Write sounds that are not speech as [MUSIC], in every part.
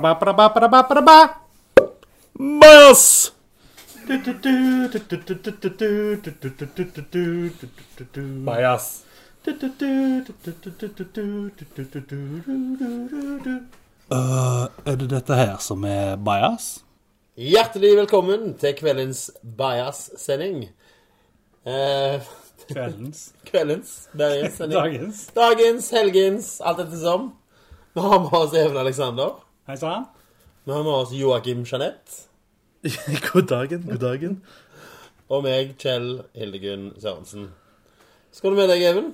Ba-ba-ba-ba-ba-ba-ba-ba. Miles! Bajas. Eh, er det dette her som er bajas? Hjertelig velkommen til kveldens Bajas-sending. Eh, Kveldens. [LAUGHS] kveldens Bajas-sending. Dagens. Dagens, helgens, alt etter som. Vi har med oss Even Alexander. Hei [LAUGHS] sann. Vi har med oss Joakim Jeanette. God dagen, god dagen. Og meg, Kjell Hildegunn Sørensen. Skal du med deg, Even?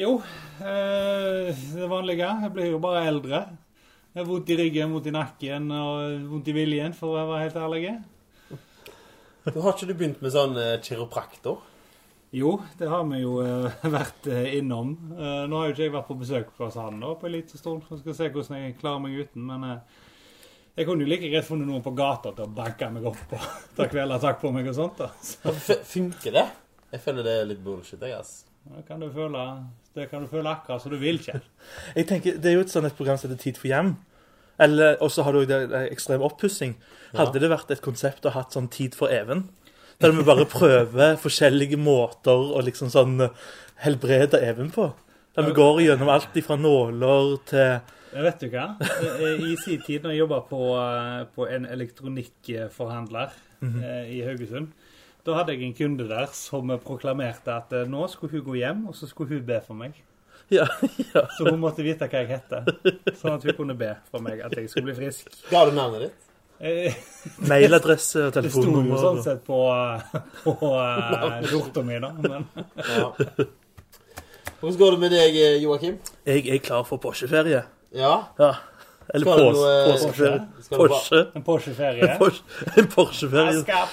Jo, eh, det vanlige. Jeg blir jo bare eldre. Jeg har vondt i ryggen, vondt i nakken og vondt i viljen, for å være helt ærlig. Du har ikke du begynt med sånn eh, kiropraktor? Jo, det har vi jo eh, [LAUGHS] vært eh, innom. Eh, nå har jo ikke jeg vært på besøk hos han da, på en liten stund. Så skal jeg se hvordan jeg klarer meg uten. Men eh, jeg kunne jo like greit funnet noen på gata til å banke meg opp og [LAUGHS] ta kvelertak på meg og sånt. da. Så F funker det? Jeg føler det er litt bullshit, jeg, ass. da kan du føle, det kan du føle akkurat som du vil, Kjell. Jeg tenker, Det er jo et sånn et program som heter Tid for hjem. Eller, Og så har du jo det det ekstrem oppussing. Hadde det vært et konsept å hatt sånn Tid for Even? Der vi bare prøver [LAUGHS] forskjellige måter å liksom sånn eh, helbrede Even på. Der vi går gjennom alt ifra nåler til Men Vet du hva? Eh, I sin tid, når jeg jobba på, eh, på en elektronikkforhandler eh, i Haugesund, da hadde jeg en kunde der som proklamerte at eh, nå skulle hun gå hjem, og så skulle hun be for meg. Ja, [LAUGHS] ja. Så hun måtte vite hva jeg het, sånn at hun kunne be for meg at jeg skulle bli frisk. Ga du navnet ditt? Eh, Mailadresse og Det sto jo telefonnummer. sånn sett på, på eh, skjorta mi, da. Men [LAUGHS] Ja. Hvordan går det med deg, eh, Joakim? Jeg er klar for Porsche-ferie. Ja? Ja. Eller Skal du, pås eh, påskeferie. skal du Porsche. en Porsche-ferie Porsche- [LAUGHS] En Jeg Porsche-ferie. skal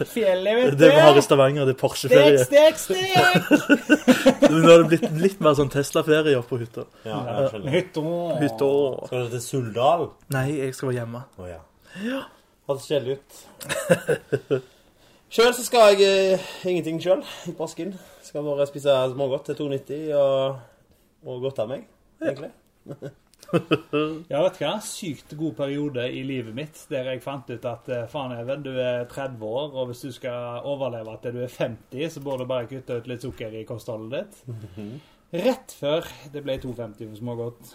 på fjellet, Det vi har i vet du. Stavanger, det er Stek, Porsche-ferie. stek, stek! Men Nå har det blitt litt mer sånn Tesla-ferie oppe på hytta. Ja, jeg skjønner. Hytta. Hytta og Skal du til Suldal? Nei, jeg skal være hjemme. Å ja. Høres kjedelig ut. [LAUGHS] Sjøl så skal jeg eh, ingenting sjøl i påsken. Skal bare spise smågodt til 2,90 og, og godte meg, egentlig. Ja, vet du hva? Sykt god periode i livet mitt der jeg fant ut at eh, faen, Even, du er 30 år, og hvis du skal overleve til du er 50, så bør du bare kutte ut litt sukker i kostholdet ditt. Rett før det ble 2,50 for smågodt.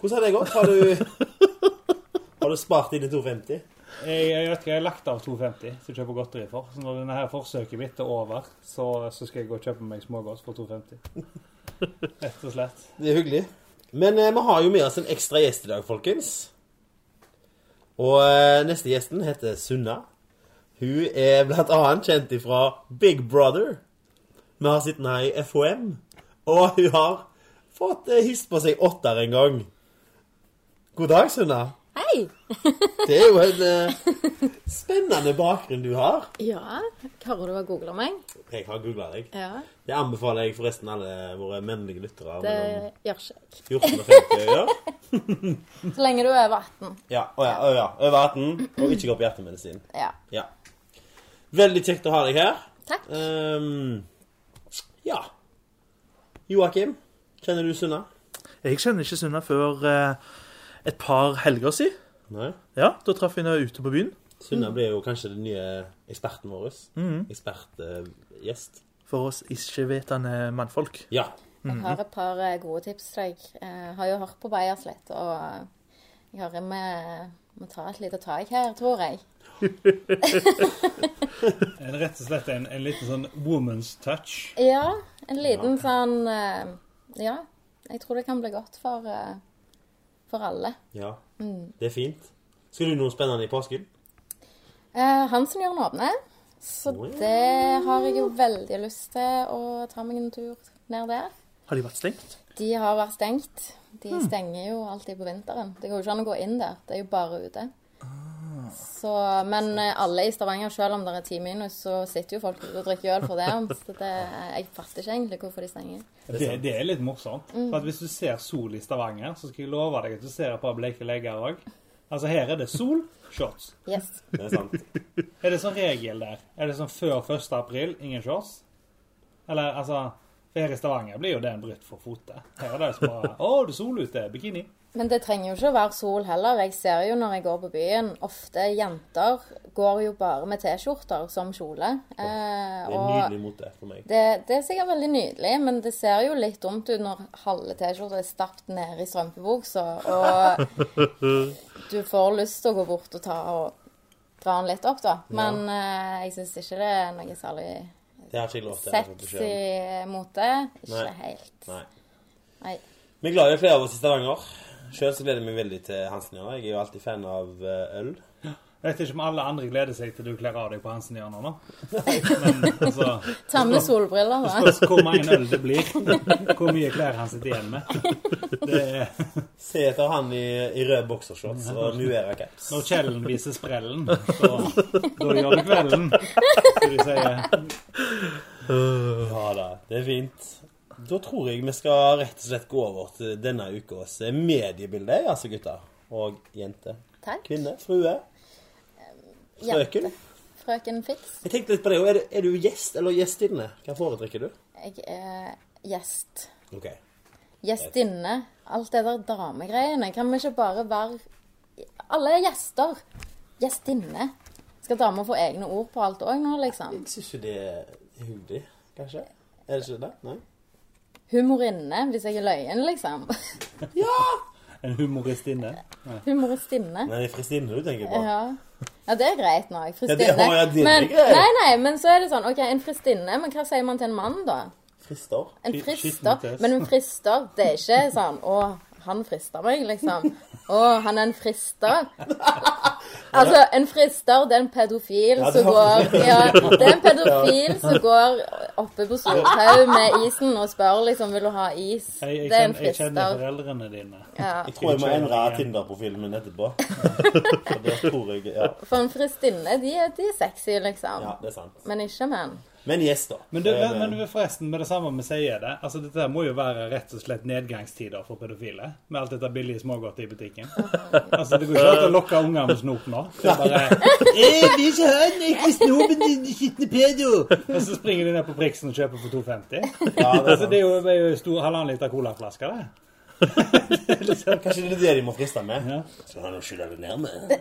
Hvordan har det gått? Har [LAUGHS] du, har du spart inn i 2,50? Jeg, jeg vet ikke, jeg har lagt av 2,50 som jeg kjøper godteri for. Så når denne her forsøket mitt er over, så, så skal jeg gå og kjøpe meg smågodt for 2,50. Rett og slett. Det er hyggelig. Men eh, vi har jo med oss en ekstra gjest i dag, folkens. Og eh, neste gjesten heter Sunna. Hun er blant annet kjent ifra Big Brother. Vi har sittet her i FHM. Og hun har fått eh, hyst på seg åtter en gang. God dag, Sunna. Hei! Det er jo en eh, spennende bakgrunn du har. Ja, klarer du å google meg? Jeg har googla deg. Ja, Det anbefaler jeg forresten alle våre mennlige lyttere. det mellom gjør ikke jeg. 14 og 50 å gjøre. Så lenge du er over 18. Ja, å ja, å ja. Over 18, og ikke gå på hjertemedisin. Ja. Ja. Veldig kjekt å ha deg her. Takk. Ehm, ja. Joakim, kjenner du Sunna? Jeg kjenner ikke Sunna før eh, et par helger siden. Nei. Ja, da traff jeg henne ute på byen. Sunna blir jo kanskje den nye eksperten vår. eh, Ekspertgjest. For oss ikke-vetende mannfolk. ja. Jeg har et par eh, gode tips til deg. Jeg Eh, har jo hørt på Bajers litt, og eh, jeg har med må ta et lite tak her, tror jeg. En, rett og slett en, en liten sånn woman's touch. Ja, en liten sånn eh, Ja, jeg tror det kan bli godt for, eh, for alle. ja. Det er fint. Skal du noe spennende i påsken? Eh, Hansen gjør den åpne, så Å, ja. det har jeg jo veldig lyst til å ta meg en tur ned der. Har de vært stengt? De har vært stengt. De stenger jo alltid på vinteren. Det går jo ikke an å gå inn der. Det er jo bare ute. Så, men eh, alle i Stavanger, selv om det er ti minus, så sitter jo folk ute og drikker øl for det. Så det, eh, jeg fatter ikke egentlig hvorfor de stenger. Det, det er litt morsomt. For at Hvis du ser sol i Stavanger, så skal jeg love deg at du ser et par bleke legger òg. Altså, her er det sol, shots. Yes. Det er sant. Er det sånn regel der? Er det sånn før 1. april, ingen shots? Eller altså For her i Stavanger blir jo det en brutt for fotet. Her er det som bare Å, det er sol ute, bikini. Men det trenger jo ikke å være sol heller. Jeg ser jo når jeg går på byen, ofte jenter går jo bare med T-skjorter som kjole. Eh, [LAUGHS] Det er og nydelig mote for meg. det, det er sikkert veldig nydelig, men det ser jo litt dumt ut når halve T-skjorta er stappet nede i strømpebuksa, og du får lyst til å gå bort og ta og dra den litt opp, da. Men eh, jeg syns ikke det er noe særlig Det har ikke jeg lov til. jeg har fått beskjed om. sexy mote. Ikke Nei. helt. Nei. Nei. Vi er glad i flere av oss i Stavanger. Sjøl gleder jeg meg veldig til Hansen. Ja. Jeg er jo alltid fan av eh, øl. Jeg vet ikke om alle andre gleder seg til du kler av deg på Hansen-hjørnet nå. Men altså Ta med [LAUGHS] solbriller, da. spørs hvor mange øl det blir. Hvor mye klær han sitter igjen med. Det er, Se etter han i, i røde [LAUGHS] boksershorts og nuera caps. når Kjellen viser sprellen, så da gjør det kvelden. Så de sier Ja da, det er fint. Da tror jeg vi skal rett og slett gå over til denne ukas mediebilde, jeg, altså gutter. Og jenter. Takk. Kvinne. Frue. Frøken. Jente. Frøken Fiks. Jeg tenkte litt på det. Er, du- er du gjest eller gjestinne? Hva foretrekker du? Jeg er gjest. Ok. Gjestinne. Alt det der damegreiene. Kan vi ikke bare være Alle er gjester. Gjestinne. Skal damer få egne ord på alt òg nå, liksom? Jeg syns jo det er hyggelig, kanskje. Er det ikke det? Nei? Humorinne, hvis jeg er løyen, liksom. [LAUGHS] en humoristinne. Humoristinne. Men det er fristinne du tenker på. Ja. ja, det er greit nok. det Fristinne. har jeg- det er Men, greit. nei, nei, men så er det sånn OK, en fristinne, men hva sier man til en mann, da? Frister. En Skitt- frister. skittent. Men en frister, det er ikke sånn Å, han frister meg, liksom. Å, han er en frister. Altså, en frister, det er en pedofil Ja, det som har- går Ja, det er en pedofil som går oppe på Storhaug med isen og spør liksom Vil du ha is? Jeg, jeg, det er en kjenner, jeg kjenner frister. foreldrene dine. Ja. Jeg tror jeg må endre Tinder-profilen min [LAUGHS] etterpå. For det tror jeg Ja, For en fristinne, de, er- de er sexy, liksom. ja det er sant. Men ikke menn. Men gjest, da. Eh, Men, du, men, men du, forresten, med det samme vi sier det altså Dette her må jo være rett og slett nedgangstider for pedofile. Med alt dette billige smågodt i butikken. Altså, Det går ikke an å lokke unger med snop nå. Det er bare, Jeg vil ikke ha en ekte snoben, din skitne pedo! og så springer de ned på Priksen og kjøper for 2,50. Ja, det er [LAUGHS] Altså, sant. Det er jo, det er jo en stor halvannen liter colaflaske, det. Kanskje det er det de må friste med? Ja. Skal han skylle det ned med?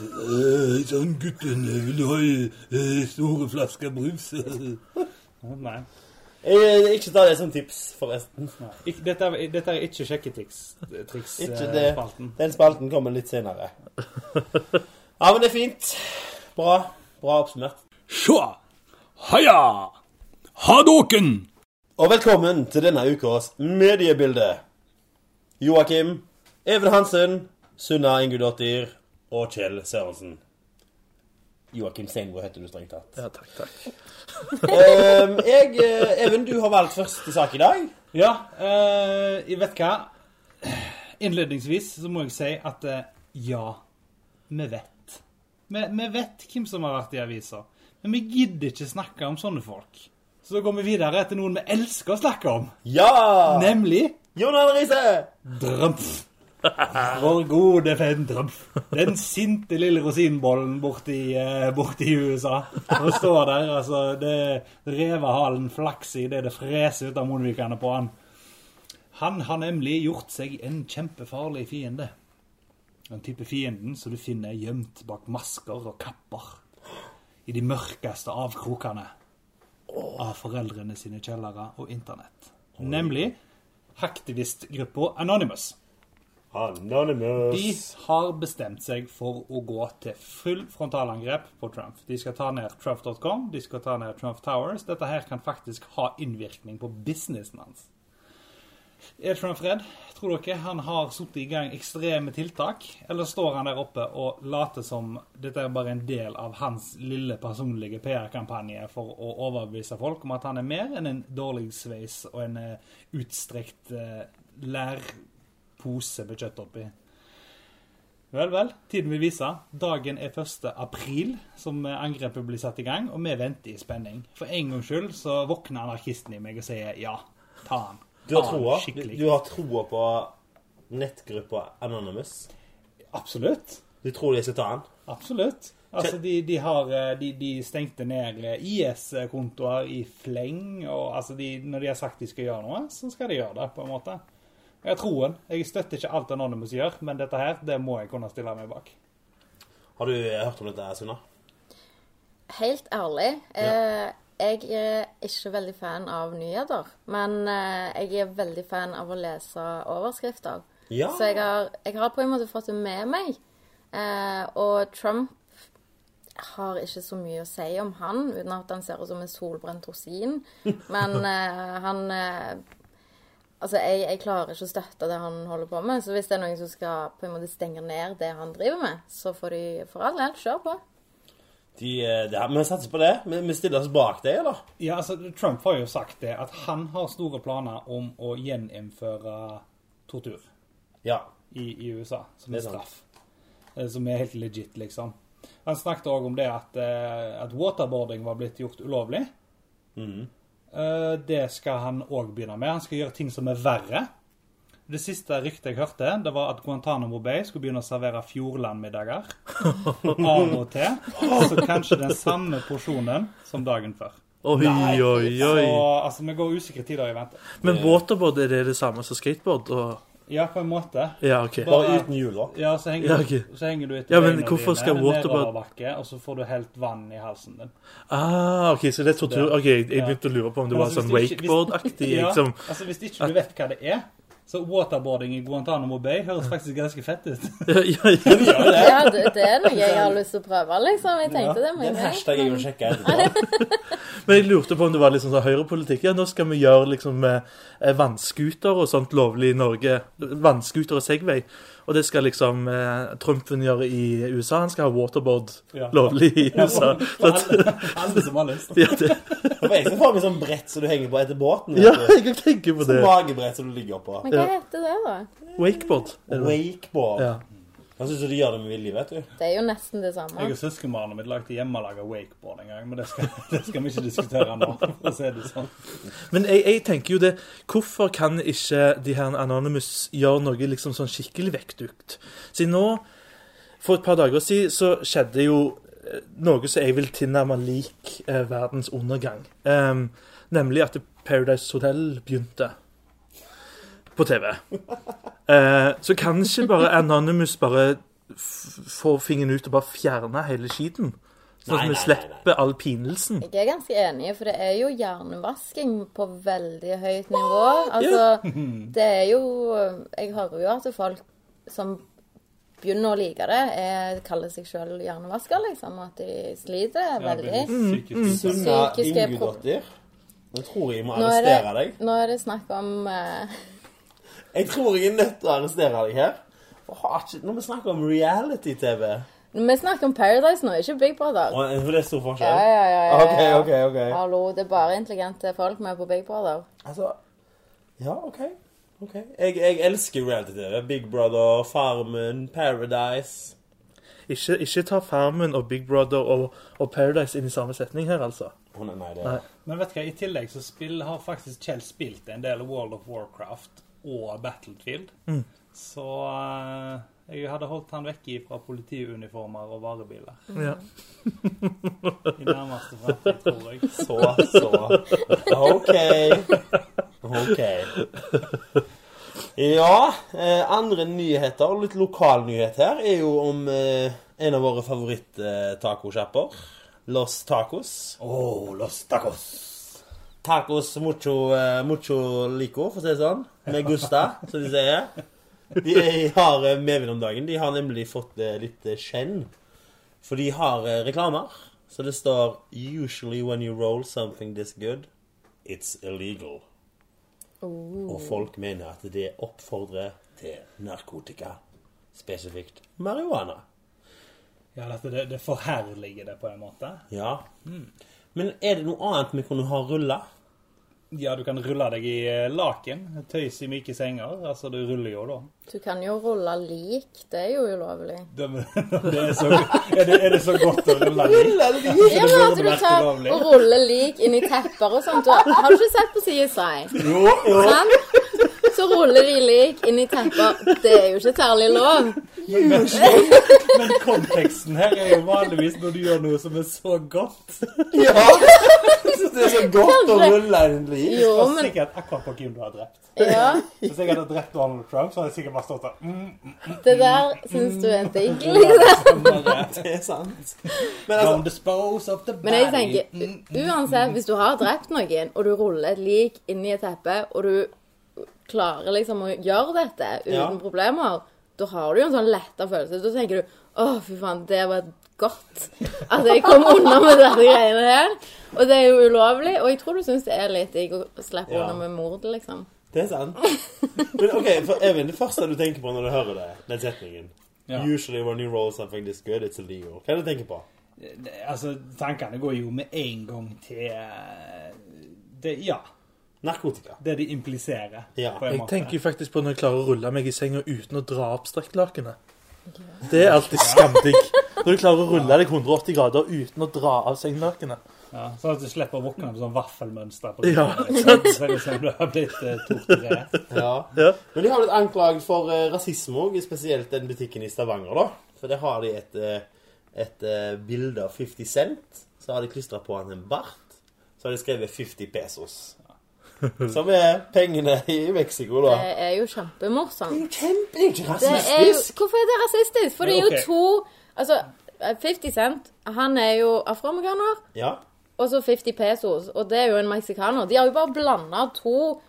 Sånn, gutten, vil du ha eh, store flasker brus? Nei. Jeg, jeg, ikke ta det som tips, forresten. nei. Ikke, dette, er, dette er ikke eh, Ikke det. sjekketriks-spalten. Den spalten kommer litt senere. Ja, men det er fint. Bra. Bra oppsummert. Sjå! Heia! Ha dåken! Og velkommen til denne ukas mediebilde. Joakim, Even Hansen, Sunna Ingudottir og Kjell Sørensen. Joakim Steinbo heter du strengt tatt. Ja, takk, takk. Ehm, jeg, eh, Even, du har valgt første sak i dag. Ja, eh, jeg vet hva. Innledningsvis så må jeg si at eh, ja, vi vet. Vi, vi vet hvem som har vært i avisa, men vi gidder ikke snakke om sånne folk. Så da går vi videre til noen vi elsker å snakke om, Ja! nemlig Jon Arne Riise! Drømf. Vår gode venn Drømf. Den sinte lille rosinbollen borti, eh, borti USA. Han står der, altså. det Revehalen flakser idet det freser ut av munnvikene på han. Han har nemlig gjort seg en kjempefarlig fiende. Den type fienden som du finner gjemt bak masker og kapper. I de mørkeste avkrokene av foreldrene sine kjellere og internett. Nemlig hacktivistgruppa Anonymous. De Anonymous. har bestemt seg for å gå til full frontalangrep på Trump. De skal ta ned Trump.com, de skal ta ned Trump Towers. Dette her kan faktisk ha innvirkning på businessen hans. Er Trump redd? Tror dere han har satt i gang ekstreme tiltak? Eller står han der oppe og later som dette er bare en del av hans lille personlige PR-kampanje for å overbevise folk om at han er mer enn en dårlig sveis og en eh, utstrekt eh, lærpose med kjøtt oppi? Vel, vel. Tiden vil vise. Dagen er 1. april som angrepet blir satt i gang, og vi venter i spenning. For en gangs skyld så våkner anarkisten i meg og sier ja. Ta han. Du har Ta han troa? Du, Skikkelig. du har troa på nettgruppa Anonymous? Absolutt. Du tror de skal ta han? Absolutt. Altså, de, de, har, eh, de, de stengte ned eh, IS-kontoer i fleng, og altså de, når de har sagt de skal gjøre noe, så skal de gjøre det, på en måte. Jeg tror han. Jeg støtter ikke alt Anonymous gjør, men dette her, det må jeg kunne stille meg bak. Har du eh, hørt om dette, Sunna? Helt ærlig, eh, jeg er ikke veldig fan av nyheter. Men eh, jeg er veldig fan av å lese overskrifter. Ja. Så jeg har, jeg har på en måte fått det med meg. Eh, og Trump har ikke så mye å si om han, uten at han ser ut som en solbrent rosin. Men eh, han eh, Altså, jeg, jeg klarer ikke å støtte det han holder på med. Så hvis det er noen som skal på en måte stenge ned det han driver med, så får de for all del kjøre på. De, eh, det, vi satser på det. Vi, vi stiller oss bak deg, eller? Ja, altså, Trump har jo sagt det, at han har store planer om å gjeninnføre tortur Ja. i, i USA som en Det er sant. straff. Eh, Som er helt legit, liksom. Han snakket òg om det at, eh, at waterboarding var blitt gjort ulovlig. Mm. Eh, Det skal han òg begynne med. Han skal gjøre ting som er verre. Det siste ryktet jeg hørte, det var at Guantánamo Bay skulle begynne å servere [LAUGHS] Fjordland-middager. Av og til. Så kanskje den samme porsjonen som dagen før. Oi, oi, oi. Så altså, vi går usikre tider i vente. Men waterboard, er det det samme som skateboard? Og... Ja, på en måte. Ja, OK. Bare uten hjul, da. Ja, så henger, Ja, du- ok. så henger du etter Ja, men beina hvorfor dine skal waterboard- nedoverbakke, og så får du helt vann i halsen din. Ah, ok, så det er tortur. Ok, jeg jeg Ja. begynte å lure på om det Men var altså, sånn hvis du ikke- hvis- wakeboard-aktig. [LAUGHS] ja, liksom. altså Hvis ikke du vet hva det er, så waterboarding i Guantánamo Bay høres faktisk ganske fett [LAUGHS] ut. Ja, ja, ja. Ja, det, det er noe jeg har lyst til å prøve, liksom. Jeg tenkte det. Det er Men en jeg, hashtag jeg vil sjekke [LAUGHS] etterpå. Men jeg lurte på om det var liksom sånn høyrepolitikk. Ja, nå skal vi gjøre liksom eh, eh, vannskuter og sånt lovlig i Norge. Vannskuter og Segway. Og det skal liksom eh, Trumpen gjøre i USA. Han skal ha waterboard Ja. lovlig i USA. [LAUGHS] Så at, alle, alle som har lyst. [LAUGHS] ja, det, [LAUGHS] For Jeg skal få meg sånn brett som du henger på etter båten. ja, vet du. jeg kan tenke på det. Sånn magebrett som du ligger på. men hva heter det, da? Wakeboard. er det. Wakeboard. Ja. Jeg syns de gjør det med vilje, vet du. Det er jo nesten det Jeg samme. og søskenbarnet mitt lagde hjemmelaga wakeboard en gang, men det skal, [LAUGHS] det skal vi ikke diskutere nå. for å si det sånn. Men jeg, jeg tenker jo det Hvorfor kan ikke de her Anonymous gjøre noe liksom sånn skikkelig vekkdukt? Siden nå, for et par dager siden, så skjedde jo eh, noe som jeg vil tilnærme lik eh, verdens undergang. Em, nemlig at Paradise Hotel begynte på TV. Eh, så kan ikke bare Anonymous bare f få fingeren ut og bare fjerne hele skiten? Nei, Sånn at nei, vi nei, nei. slipper all pinelsen? Jeg er ganske enig, for det er jo hjernevasking på veldig høyt nivå. Altså, det er jo Jeg hører jo at folk som begynner å like det, er, kaller seg sjøl hjernevasker, liksom. og At de sliter Ja, det er veldig. Mm. psykisk stress. Sunna Psykiske pro- Ingudottir. Nå tror jeg jeg må Nå er arrestere det, deg. nå er det snakk om eh, [LAUGHS] Jeg tror jeg er nødt til å arrestere deg her. For har ikke- Når vi snakker om reality-TV Vi snakker om Paradise nå, ikke Big Brother. Og Det er stor Ja, forskjell. ja, ja. ja, Ok, ja. ok, ok. Hallo, det er bare intelligente folk med på Big Brother. Altså Ja, OK. ok. Jeg, jeg elsker reality-TV. Big Brother, Farmen, Paradise. Ikke, ikke ta Farmen og Big Brother og, og Paradise inn i samme setning her, altså. Å, nei, nei, det Nei. Men vet du hva, i tillegg så spill, har faktisk Kjell spilt en del World of Warcraft og Battlefield. Så eh, jeg hadde holdt han vekk fra politiuniformer og varebiler Ja. i nærmeste fremtid, tror jeg. Så, så. OK. OK. Ja, eh, andre nyheter, og litt lokalnyhet her, er jo om eh, en av våre favoritt-tacosjapper. Los Tacos. Oh, los tacos. Tacos mucho, eh, mucho lico, for å si det sånn. Med gusta, som de sier. De har eh, medvind om dagen. De har nemlig fått eh, litt eh, skjenn. For de har eh, reklamer. Så det står Usually when you roll something this good, it's illegal. Og folk mener at det oppfordrer til narkotika. Spesifikt marihuana. Ja, dette, det, det forherliger det på en måte. Ja. Men er det noe annet vi kunne ha rulla? Ja, du kan rulle deg i eh, laken, tøys i myke senger. Altså, du ruller jo da. Du kan jo rulle lik, det er jo [LAUGHS] ulovlig. Det, [LAUGHS] det er, så, er, det, er det så godt å rulle i? Ja, men at du tar [LAUGHS] og ruller lik inn i tepper og sånt. Du har, har du ikke sett på CSI? Jo, jo. Sant? Så så ruller de lik inn i tepper. Det er jo ikke særlig lov. Men, men konteksten her er jo vanligvis når du gjør noe som er så godt. Ja! Jeg synes det er så godt å rulle en liv. Jo, Det var men sikkert akkurat på hvem du har drept. ja, Hvis jeg hadde drept Donald Trump, så hadde jeg sikkert bare stått der. Mm, det der syns du er digg, liksom. Det er sant. Men altså, Don't dispose of the body. Men jeg Mm, tenker, uansett, hvis du har drept noen, og du ruller et lik inn i et teppe, og du klarer liksom å gjøre dette uten Ja. problemer, da har du jo en sånn letta følelse. Da tenker du å, fy faen, det var godt at jeg kom unna med dette greiene her. Og det er jo ulovlig, og jeg tror du syns det er litt digg å slippe Ja. unna med mord, liksom. det er sant. Men OK, for Even, det første du tenker på når du hører det, den setningen Ja. Usually when you roll something this good, it's illegal. Hva er det du tenker på? Det- Altså, tankene går jo med en gang til eh, det, Ja. Narkotika. Det de impliserer. Ja. på en Jeg måte. tenker jo faktisk på når jeg klarer å rulle meg i senga uten å dra opp strekklakenet. Det er alltid skamdigg. Når du klarer å rulle deg 180 grader uten å dra av sengelakenet. Ja, sånn at du slipper å våkne med sånn vaffelmønster på ryggen. Ja, [LAUGHS] sant. [LAUGHS] Så er det som du har blitt eh, torturert. Ja. Ja. Men de har blitt anklaget for eh, rasisme òg, spesielt den butikken i Stavanger, da. For der har de et, eh, et eh, bilde av 50 Cent. Så har de klistra på han en bart. Så har de skrevet 50 pesos. Som er pengene i Mexico, da. Det er jo kjempemorsomt. Det er jo kjempe, det er ikke Det er jo, rasistisk! hvorfor er det rasistisk? For det er Ok. jo to Altså, 50 Cent, han er jo afroamerikaner. Ja. Og så 50 pesos, og det er jo en meksikaner. De har jo bare blanda to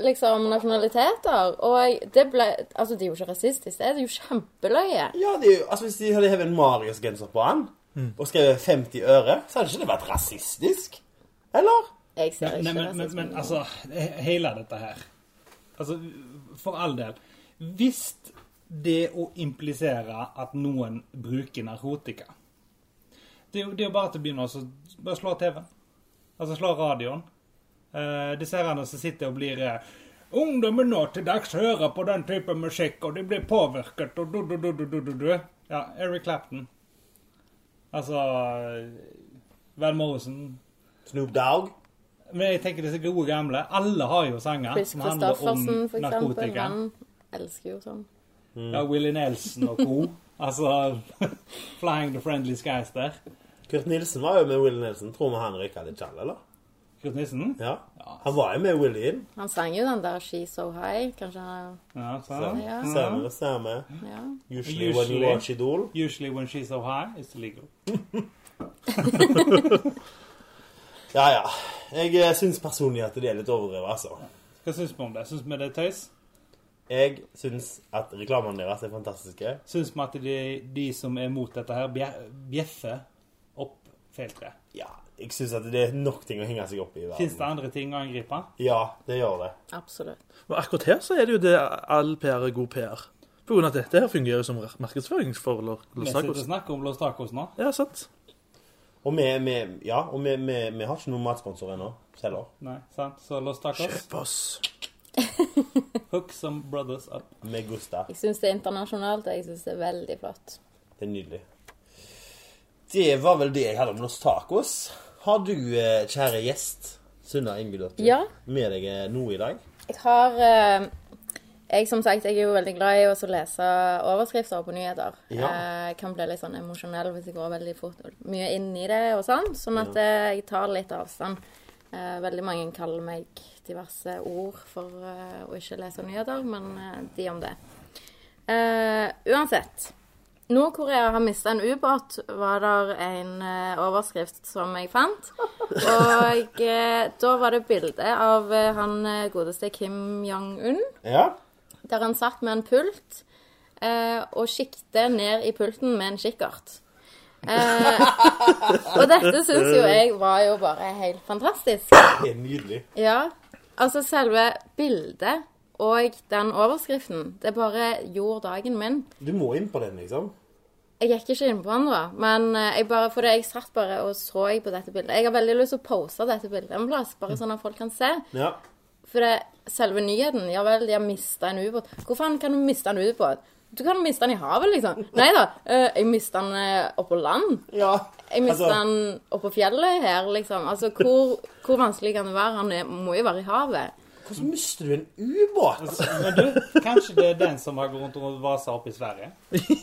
liksom, nasjonaliteter. Og jeg- det ble Altså, det er jo ikke rasistisk. Det er jo kjempeløye. ja det er jo, altså Hvis de hadde hevet en Marius-genser på han og skrevet 50 øre, så hadde ikke det vært rasistisk? Eller? Jeg ser ikke Nei, men, men, rasisme. men altså, he- hele dette her Altså, for all del. Hvis det å implisere at noen bruker narkotika Det er jo, det er jo bare til å begynne å så Bare slå TV-en. Altså slå radioen. Eh, disse herrene som sitter og blir eh, Ungdommen nå til dags hører på den type musikk, og de blir påvirket, og du-du-du-du-du-du. Ja, Eric Clapton. Altså Vel Morrison. Snoop Dogg? Men jeg tenker disse gode gamle. Alle har jo sanger Chris som handler om Christoffersen, for eksempel. narkotika. Han elsker jo sånn. Ja, Willy Nelson og [LAUGHS] co. altså [LAUGHS] Flying the Friendly Skies der. Kurt Nilsen var jo med Willy Nelson. Tror vi han røyka litt tjall, eller? Kurt Nissen. Ja. Han var jo med Willy inn. Han sang jo den der 'She's So High'. Kanskje han Ja, Så, sant? Ja. Samme, samme. Ja. Usually when you Usually. watch Idol. Usually when she's so high, it's illegal. Ja, ja. Jeg eh, syns personlig at de er litt overdrevet, altså. Hva syns vi om det? Syns vi det er tøys? Jeg syns at reklamene deres er fantastiske. Syns vi at de, de som er mot dette her, bje- bjeffer opp feil tre? Ja, jeg syns at det er nok ting å henge seg opp i i Fins det verden. andre ting å angripe? Ja, det gjør det. Absolutt. Men akkurat her så er det jo det all PR er god PR. På grunn av at dette her fungerer jo som markedsføring for Los Vi Los sitter og Tacos. snakker om Los Tacos nå. Ja, sant. Og vi, vi, ja, og vi, vi, vi har ikke noen matsponsor ennå. Selv om. Nei, sant? Så Los Tacos, Kjøp oss. hook some brothers up. Med Gusta. Jeg syns det er internasjonalt, og jeg syns det er veldig flott. Det er nydelig. Det var vel det jeg hadde om Los Tacos. Har du, eh, kjære gjest, Sunna Ingebjørg, Ja. med deg eh, noe i dag? Jeg har eh, Jeg som sagt, jeg er jo veldig glad i å så lese overskrifter på nyheter. Ja. Eh, kan bli litt sånn emosjonell hvis jeg går veldig fort mye inn i det og sånn. Sånn at eh, jeg tar litt avstand. Eh, veldig mange kaller meg diverse ord for eh, å ikke lese nyheter, men eh, de om det. Eh, uansett. Nord-Korea har mista en ubåt, var der en eh, overskrift som jeg fant. Og eh, da var det bilde av eh, han eh, godeste Kim Jong-un, Ja? der han satt med en pult eh, og kikket ned i pulten med en kikkert. Eh, og dette syns jo jeg var jo bare helt fantastisk. Det er nydelig. Ja, altså selve bildet og den overskriften, det bare gjorde dagen min. Du må inn på den, liksom. Jeg gikk ikke inn på den, da. Men eh, jeg bare, for det, jeg satt bare og så jeg på dette bildet. Jeg har veldig lyst til å poste dette bildet en plass, bare sånn at folk kan se. Ja. For det, selve nyheten Ja vel, de har mista en ubåt. Hvor faen kan du miste en ubåt? Du kan miste den i havet, liksom. Nei da. eh, Jeg mista den eh, oppå land. ja. Jeg mista Altså- den oppå fjellet her, liksom. Altså, hvor, hvor vanskelig kan det være? Han er, må jo være i havet. Hvordan mister du en ubåt? Men du, kanskje det er den som har gått rundt og vasa opp i Sverige?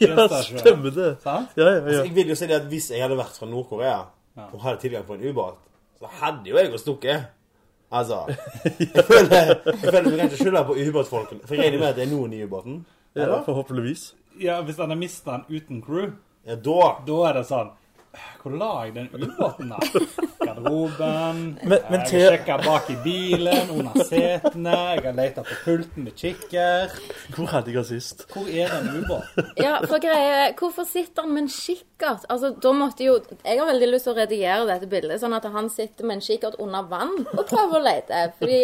Ja, stemmer det. Sant? Ja, ja, ja. Jeg vil jo si det at Hvis jeg hadde vært fra Nord-Korea Ja. og hadde tilgang på en ubåt, så hadde jo jeg gått stukket. Altså [LAUGHS] Jeg føler jeg føler vi kan ikke skylde på ubåtfolkene. For jeg regner med at det er noen i ubåten. ja forhåpentligvis. Ja, Hvis han har mista den uten crew, Ja, da da er det sånn Hvor la jeg den ubåten, da? Garderoben Men- men Jeg til- har sjekka bak i bilen, under setene Jeg har leta på pulten med kikker Hvor hadde jeg den sist? Hvor er den ubåten? Ja, for greie, Hvorfor sitter han med en kikkert? Altså, da måtte jo, Jeg har veldig lyst til å redigere dette bildet, sånn at han sitter med en kikkert under vann og prøver å lete. Fordi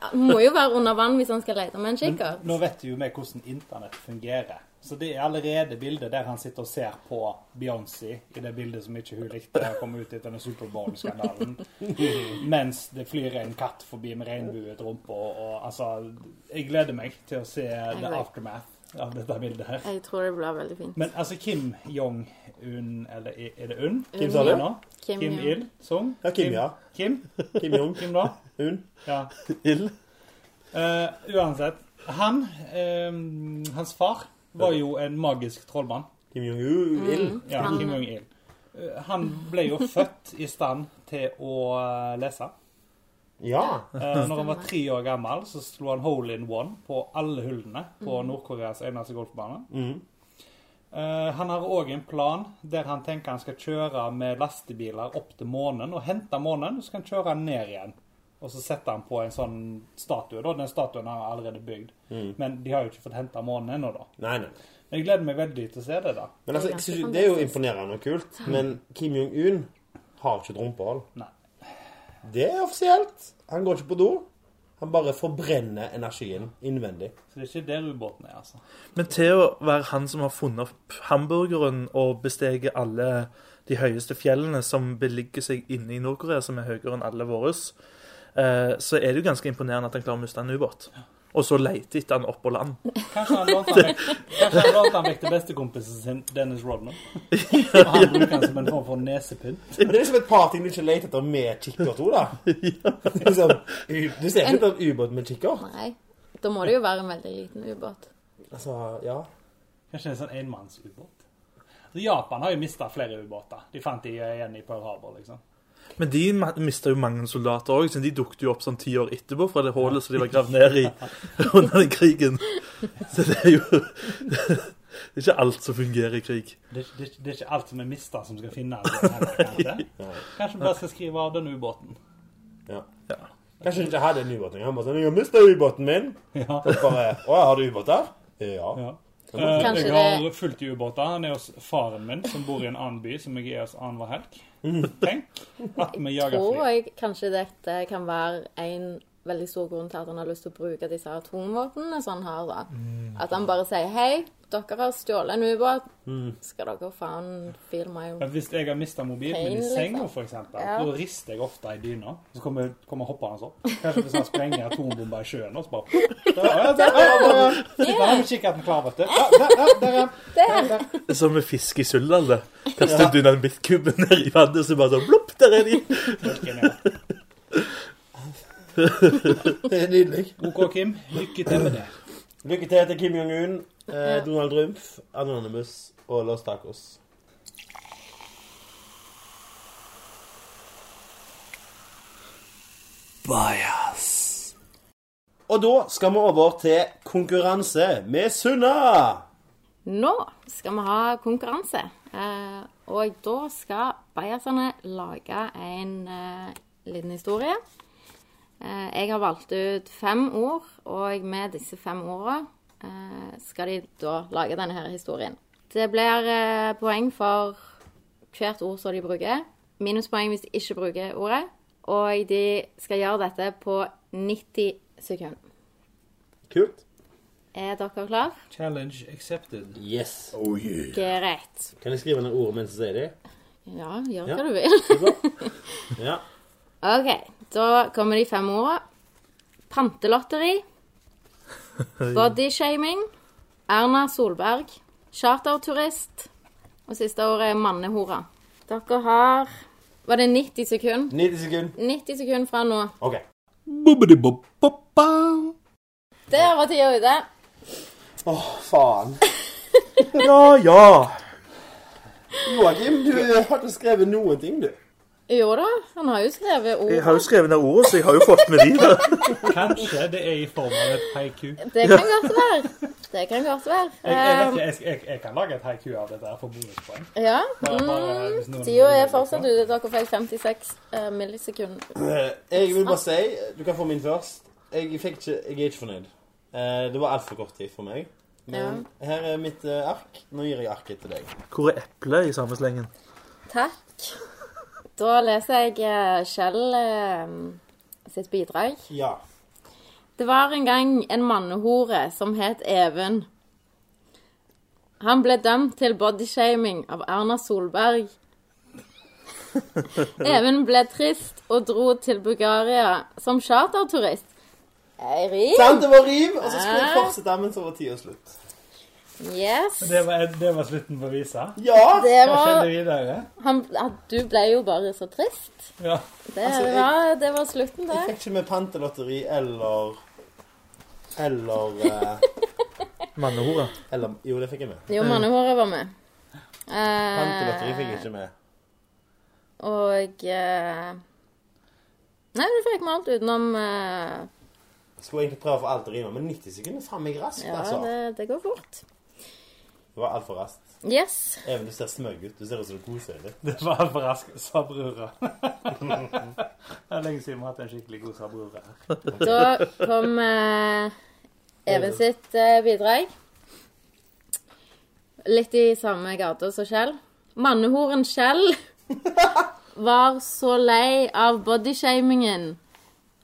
han må jo være under vann hvis han skal lete med en kikkert. Nå vet jo vi hvordan internett fungerer. Så det er allerede bildet der han sitter og ser på Beyoncé i det bildet som ikke hun likte komme ut etter den [LAUGHS] Superbowl-skandalen. Mens det flyr en katt forbi med regnbuet rumpe og, og Altså, jeg gleder meg til å se the aftermath av dette bildet her. Jeg tror det blir veldig fint. Men altså Kim Jong-un, eller er- er det Un? Kim sa det. nå? Kim, Kim, ja. Il Sung? Ja, Kim, ja. Kim? Kim Jong Kim da? Un. Ja. Ild? Eh, uansett. Han, eh, hans far, var jo en magisk trollmann. Kim Jong Il. Ja, Han- Kim Jong-il. Eh, Han ble jo født i stand til å eh, lese. Ja. Eh, Når han var tre år gammel, så slo han hole in one på alle hullene på Nord-Koreas eneste golfbane. Mm. Eh, han har òg en plan der han tenker han skal kjøre med lastebiler opp til månen og hente månen, og så skal han kjøre han ned igjen. Og så setter han på en sånn statue. da, Den statuen har han allerede bygd. Mm. Men de har jo ikke fått henta månen ennå, da. Nei, nei. Men jeg gleder meg veldig til å se det, da. Men altså, jeg synes, jo- Det er Mm. jo imponerende og kult, men Kim Jong-un har ikke et rumpehull. Nei. Det er offisielt. Han går ikke på do. Han bare forbrenner energien innvendig. Så det er ikke der ubåten er, altså. Men til å være han som har funnet opp hamburgeren og besteget alle de høyeste fjellene som beligger seg inne i Nord-Korea, som er høyere enn alle våre, eh, så er det jo ganske imponerende at han klarer å miste en ubåt. Og så leite etter han opp på land. Kanskje han lånte han vekk, kanskje han lånte han vekk til bestekompisen sin, Dennis Rodman. Og han bruker han som en form for nesepynt. Men det er liksom et par ting du ikke leter etter med kikkert òg, da. [LAUGHS] Det er Liksom, u- du ser ikke etter en ubåt med kikkert. Nei. Da må det jo være en veldig liten ubåt. Altså, ja. Kanskje en sånn enmannsubåt. Altså, Japan har jo mista flere ubåter. De fant de igjen i Pearl Harbor, liksom. Men de mista jo mange soldater òg, siden de dukket jo opp sånn ti år etterpå fra det hullet som de var gravd ned i [LAUGHS] under den krigen. Så det er jo [LAUGHS] Det er ikke alt som fungerer i krig. Det, det, det er ikke alt som er mista, som skal finne Kanskje Kanskje vi bare skal skrive av den ubåten. ja. Ja. Kanskje han ikke hadde en ubåt engang. Han bare sånn 'Jeg har mista ubåten min.' Ja. Og bare 'Å, har du ubåt der?' Ja. Ja. Eh, Kanskje jeg har fulgt i ubåter. Han er hos faren min, som bor i en annen by, som jeg er hos annenhver helg. Tenk at vi jager Tror fly. jeg kanskje dette kan være en veldig stor grunn til at han har lyst til å bruke disse atomvåpnene som han har, da. At han bare sier hei, dere har stjålet en ubåt, skal dere faen feel my Men Hvis jeg har mista mobilen min i Pain, senga, liksom. for eksempel, Ja. da rister jeg ofte i dyna. Så kommer, kommer hopperen sånn. Kanskje hvis han sprenger atombomber i sjøen, og så bare Ja, ja, der, ja, ja, ja. Sitter han med kikkerten klar, vet du. Ja, der, ja, der, ja. Det er Som med fisk i Suldal. det. Kastet du den midtkubben ned i vannet, så bare sånn plopp, der er de! Genialt. Det er nydelig. OK, Kim. Lykke til med det. Lykke til til Kim Jong-un, eh, Ja. Donald Trump, Anonymous og Los Tacos. Bajas. Og da skal vi over til konkurranse med Sunna. Nå skal vi ha konkurranse. Eh, og da skal bajasene lage en eh, liten historie. Eh, jeg har valgt ut fem ord, og med disse fem ordene eh, skal de da lage denne her historien. Det blir eh, poeng for hvert ord som de bruker. Minuspoeng hvis de ikke bruker ordet. Og de skal gjøre dette på 90 sekunder. Kult. Er dere klare? Challenge accepted. Yes. Oh yeah. Greit. Kan jeg skrive ned ordet mens jeg sier det? Ja, gjør Ja. hva du vil. [LAUGHS] Ja. Ok, da kommer de fem ordene. Pantelotteri. [LAUGHS] Bodyshaming. Erna Solberg. Charterturist. Og siste ordet er mannehora. Dere har Var det 90 sekunder? 90 sekunder. 90 sekunder fra nå. OK. Bobbidi-bob-bob-ba. Der var tida ute. faen. Ja, ja. Joakim, du har ikke skrevet noen ting, du. Jo da, han har jo skrevet ord. Jeg har jo skrevet ned ordene, så jeg har jo fått med de der. Kanskje det er i form av et haiku. Jeg, Det kan godt være. Det kan godt være. jeg, vet Um, ikke, jeg, jeg, jeg kan lage et haiku av dette her for bonuspoeng. ja. Bare- bare hvis Mm. noen- Tida er fortsatt ute. Dere fikk 56 eh, millisekunder. Eh, Jeg vil bare Sånn. si Du kan få min først. Jeg, fikk ikke, jeg er ikke fornøyd. Eh, Det var altfor kort tid for meg. Men her er mitt eh, ark. Nå gir jeg arket til deg. Hvor er eplet i samme slengen? Takk. Da leser jeg eh, Kjell eh, sitt bidrag. Ja. Det var en gang en mannehore som het Even. Han ble dømt til bodyshaming av Erna [LAUGHS] Solberg. Even ble trist og dro til Bulgaria som charterturist. Eirin? Sant, det var rim, og så skulle Eh. jeg fortsette, men så var tida slutt. Yes. Det var, det var slutten på visa. Ja! Det Hva skjedde var videre? han, ja, Du ble jo bare så trist. Ja. Det, Altså, jeg- var, det var slutten, Jeg det. fikk ikke med pantelotteri eller Eller eh, Mannehora. Eller Jo, det fikk jeg med. Jo, mannehoret var med. Eh, Pantelotteri fikk jeg ikke med. Og eh, Nei, du fikk med alt utenom eh, Skulle egentlig prøve å få alt til å rime, men 90 sekunder er faen meg raskt, Ja, altså. det, det går fort. Det var altfor raskt. Yes. Even, du ser smøgg ut. Du ser ut som du koser deg litt. Det var for raskt, sa brura. [LAUGHS] Det er lenge siden vi har hatt en skikkelig god sa brura. Da kom eh, Even sitt eh, bidrag. Litt i samme gate som Kjell. Mannehoren Kjell var så lei av bodyshamingen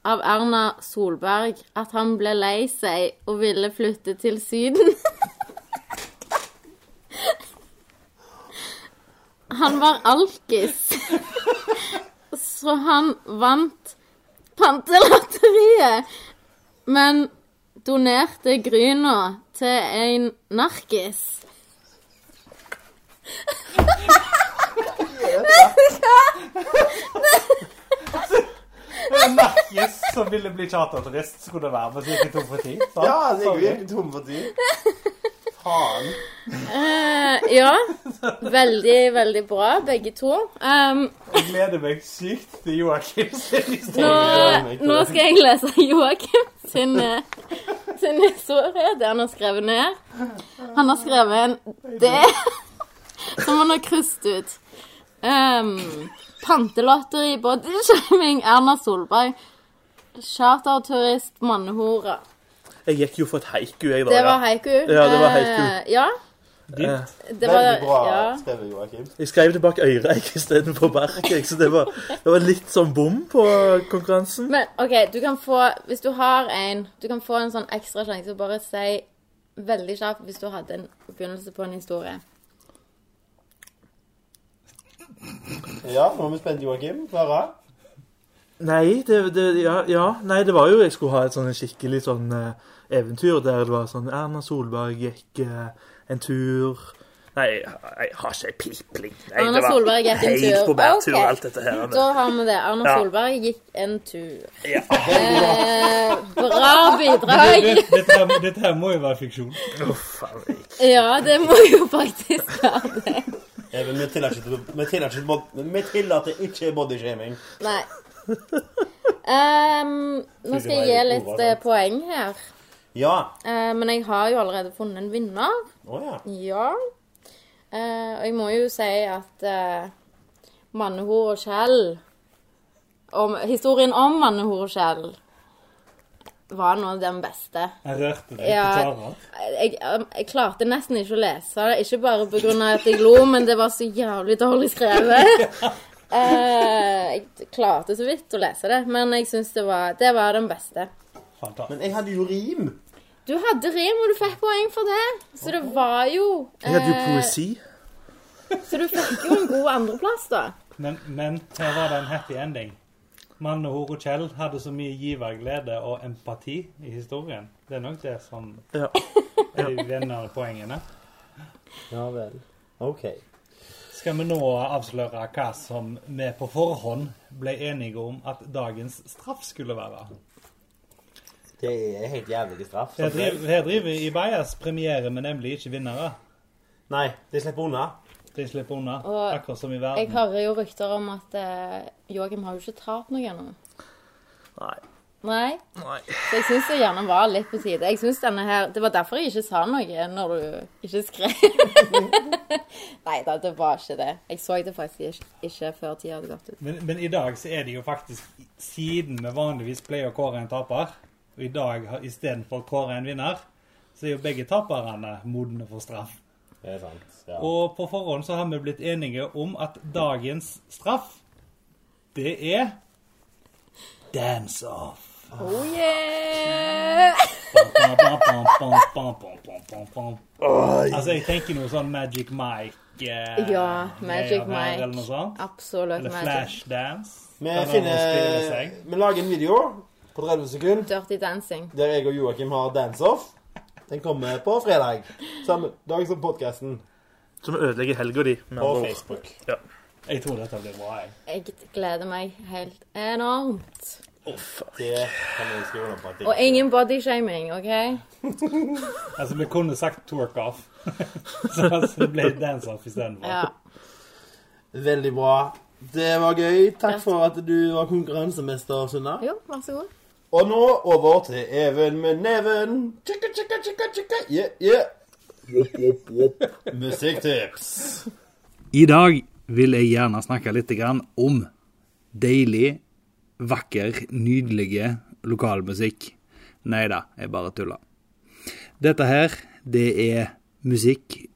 av Erna Solberg at han ble lei seg og ville flytte til Syden. Han var alkis, så han vant pantelotteriet, men donerte Gryna til en narkis. En narkis som ville bli charterturist, skulle det være, men så gikk det tom for tid. sant? Ja, jeg Sorry. er ikke tom for tid. Faen. Eh, ja, veldig, veldig bra, begge to. Um, Jeg gleder meg sykt til Joakim sin historie. nå, nå skal jeg lese Joakim sin, eh, sin historie, det han har skrevet ned. Han har skrevet en D som han har krysset ut. Um, Pantelotteri, bodyshaming, Erna Solberg. Charterturist, mannehore. Jeg gikk jo for et haiku, jeg, da. Det ja. var haiku. Ja, det var haiku. Eh, ja, Eh, det var, Veldig bra ja. skrevet, Joakim. Jeg skrev det bak øret istedenfor bark, jeg, så det var, det var litt sånn bom på konkurransen. Men OK, du kan få Hvis du har en Du kan få en sånn ekstra sjanse. Bare si veldig kjapt hvis du hadde en begynnelse på en historie. Ja, nå er vi spent, Joakim. Klara? Nei, det, det, ja, ja, nei, det var jo jeg skulle ha et sånn skikkelig sånn eh, eventyr der det var sånn Erna Solberg gikk eh, en tur Nei, jeg, jeg har ikke ei pipling. Nei, Erna det var Solberg gikk en helt tur. på bærtur, Ok. alt dette her. Da har vi det. Erna Ja. Solberg gikk en tur. Ja. Eh, bra bidrag. Dette, dette, her- dette her må jo være fiksjon. Uff, faen, jeg- Ja, det må jo faktisk være det. Even, Eh, vi tillater ikke- vi tillater ikke bod- vi tillater ikke bodyshaming. [LAUGHS] Nei. Ehm, nå skal jeg gi litt eh, poeng her. Ja. Eh, men jeg har jo allerede funnet en vinner. Å ja. Ja. Eh, og jeg må jo si at eh, mannehor og skjell om, Historien om mannehor og skjell var nå den beste. Jeg rørte deg Ja. på tara. Jeg, jeg, jeg klarte nesten ikke å lese det. Ikke bare pga. at jeg lo, men det var så jævlig dårlig skrevet. Eh, jeg klarte så vidt å lese det, men jeg syns det, var- det var den beste. Men Fantastisk. jeg hadde jo rim. Du hadde rim, og du fikk poeng for det. Så det var jo Jeg hadde jo eh, poesi. Så du fikk jo en god andreplass, da. Men, men her var det en happy ending. Mann og hore Kjell hadde så mye giverglede og empati i historien. Det er nok det som Ja. er de vinnende poengene. Ja vel. OK. Skal vi nå avsløre hva som vi på forhånd ble enige om at dagens straff skulle være? Det er helt jævlig straff. Her driver, her driver Ibayas premiere med nemlig ikke vinnere. Nei, de slipper unna. De slipper unna, Og akkurat som i Jeg verden. hører jo rykter om at eh, Joakim har jo ikke tapt noe ennå. Nei. Nei. Nei. Så jeg syns det gjerne var litt på tide. Jeg synes denne her, Det var derfor jeg ikke sa noe når du ikke skrev. [LAUGHS] Nei da, det var ikke det. Jeg så det faktisk ikke, ikke før tida hadde gått ut. Men, men i dag så er det jo faktisk Siden vi vanligvis pleier å kåre en taper, og i dag har- istedenfor å kåre en vinner, så er jo begge taperne modne for straff. Det er sant. Ja. Og på forhånd så har vi blitt enige om at dagens straff, det er Dance-off. Oh yeah! Altså, Ah, jeg tenker noe sånn Magic Mike. eh, Ja, Magic greier her, Eller noe Mike. sånt. Absolutt Eller magic. Flashdance. Vi, Der noen spiller finner, seg. vi lager en video på 30 sekunder Dirty dancing. der jeg og Joakim har dance-off. Den kommer på fredag. Samme dag som podkasten. Så vi ødelegger helga di. med På andre ord. Facebook. Ja. Jeg tror dette blir bra. jeg. Jeg gleder meg helt enormt. Det kan jeg skrive under på. at jeg- Og ingen bodyshaming, OK? Altså, Vi kunne sagt twerk-off, [LAUGHS] så altså, det ble dance-off istedenfor. Ja. Veldig bra. Det var gøy. Takk for at du var konkurransemester, Sunna. Jo, vær så god. Og nå over til Even med neven. Tjekka, tjekka, tjekka, tjekka. Yeah, yeah. [LAUGHS] Musikktips. I dag vil jeg gjerne snakke litt grann om deilig, vakker, nydelig lokalmusikk. Nei da, jeg bare tuller. Dette her, det er musikk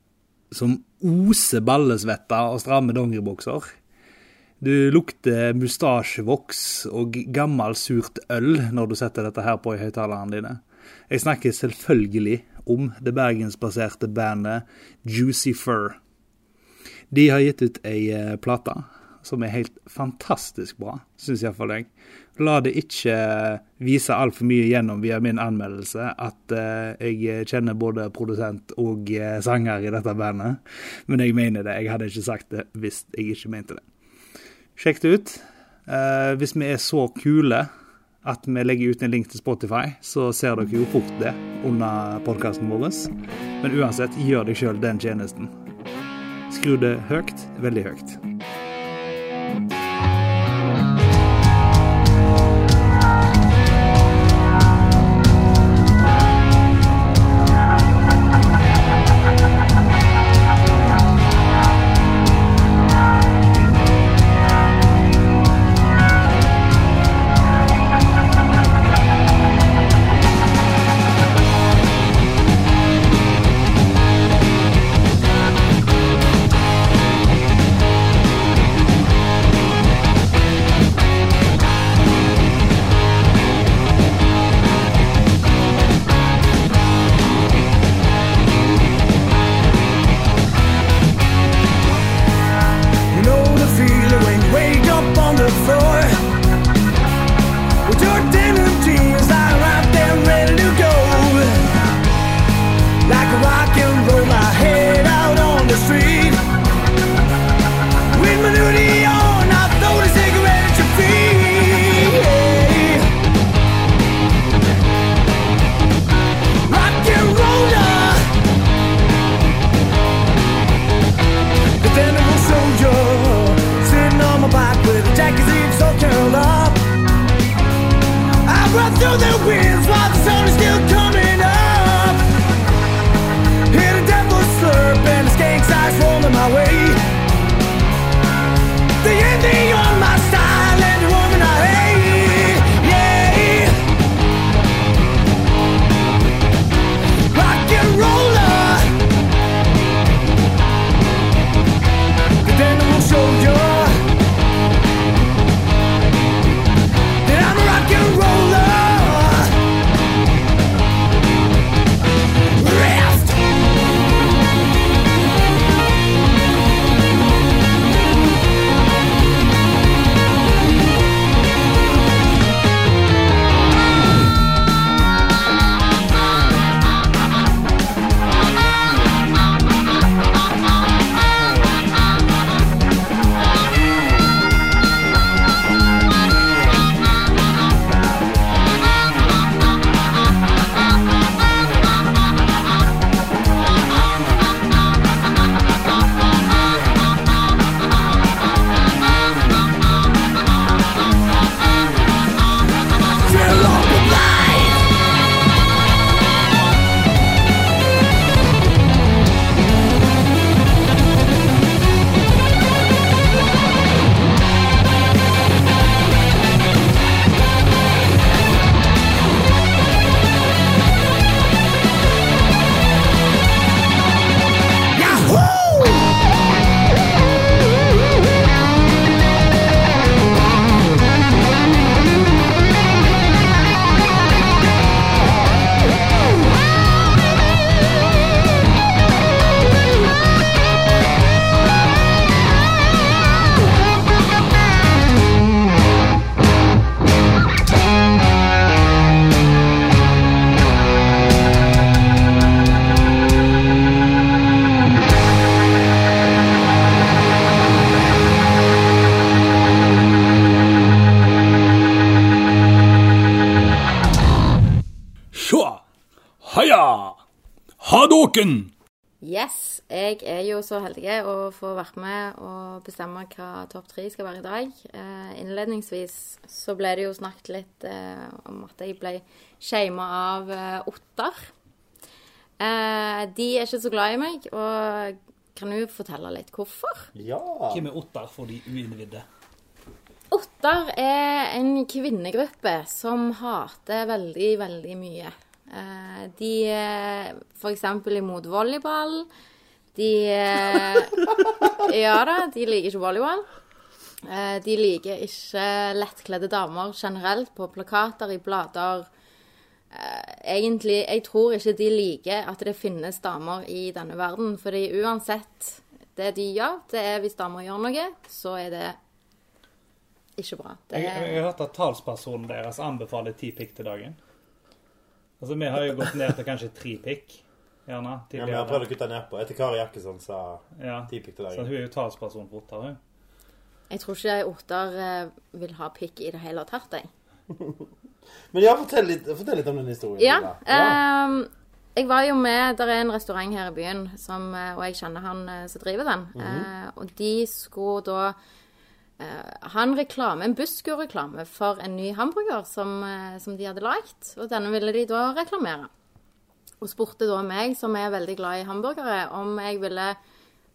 som oser ballesvette og stramme dongeribukser. Du lukter mustasjevoks og gammel surt øl når du setter dette her på i høyttalerne dine. Jeg snakker selvfølgelig om det bergensbaserte bandet Juicy Fur. De har gitt ut ei eh, plate som er helt fantastisk bra, syns iallfall jeg. La det ikke eh, vise altfor mye gjennom via min anmeldelse at eh, jeg kjenner både produsent og eh, sanger i dette bandet, men jeg mener det. Jeg hadde ikke sagt det hvis jeg ikke mente det. Sjekk det ut. Eh, hvis vi er så kule at vi legger ut en link til Spotify, så ser dere jo fort det under podkasten vår. Men uansett, gjør deg sjøl den tjenesten. Skru det høyt, veldig høyt. Håken! Yes, jeg er jo så heldig å få vært med og bestemme hva topp tre skal være i dag. Eh, innledningsvis så ble det jo snakket litt eh, om at jeg ble shama av eh, otter. Eh, de er ikke så glad i meg, og kan jo fortelle litt hvorfor. Ja. Hvem er otter for de uinnvidde? Otter er en kvinnegruppe som hater veldig, veldig mye. Eh, De er f.eks. imot volleyball. De eh, Ja da, de liker ikke volleyball. Eh, De liker ikke lettkledde damer generelt på plakater, i blader. Eh, Egentlig, jeg tror ikke de liker at det finnes damer i denne verden. fordi uansett det de gjør, det er hvis damer gjør noe, så er det ikke bra. Det Jeg, er... jeg har hørt at talspersonen deres anbefaler ti pikk til dagen. Altså, vi har jo gått ned til kanskje tre pikk. Gjerne. Ja, men jeg har prøvd å kutte nedpå. Etter Kari Jakkesson sa Ja. ti pikk til Så dagen. hun er jo talsperson for otter, hun. Jeg tror ikke otter eh, vil ha pikk i det hele tatt, jeg. Men ja, fortell litt, fortell litt om den historien. Ja, Hilda. ehm, jeg var jo med Der er en restaurant her i byen, som, eh, og jeg kjenner han eh, som driver den. Eh, og de skulle da eh, ha en reklame, en Busco-reklame for en ny hamburger som, eh, som de hadde lagd. Og denne ville de da reklamere. Og spurte da meg, som er veldig glad i hamburgere, om jeg ville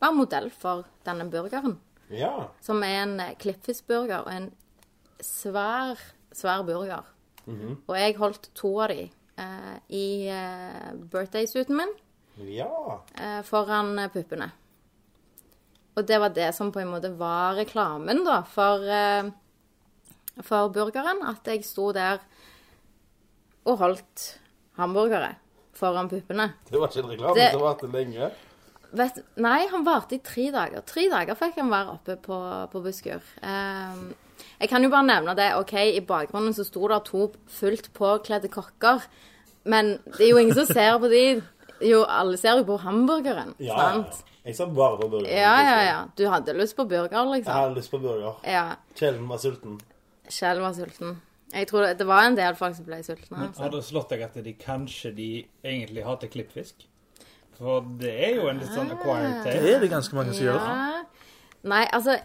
være modell for denne burgeren. ja. Som er en eh, klippfiskburger og en svær, svær burger. Og jeg holdt to av de eh, i eh, birthday-suiten min Ja. eh, foran eh, puppene. Og det var det som på en måte var reklamen da, for, eh, for burgeren. At jeg sto der og holdt hamburgere foran puppene. Det var ikke en reklame Det- som varte lenge. Vet, nei, han varte i tre dager. Tre dager fikk han være oppe på, på Buskur. Ehm, jeg kan jo bare nevne det. ok, I bakgrunnen så sto det to fullt påkledde kokker. Men det er jo ingen som ser på de. Jo, alle ser jo på hamburgeren. Ja. sant? Jeg sa bare på burger. Ja, ja, ja. Du hadde lyst på burger, Jeg liksom. hadde lyst på burger. Ja. Kjelen var sulten. Kjell var sulten. Jeg tror det, det var en del folk som ble sultne. Har Altså. det slått deg at de kanskje de egentlig hater klippfisk? For det er jo en litt Ah. sånn acquired Det taste. er det ganske mange som gjør. Ja. Nei, altså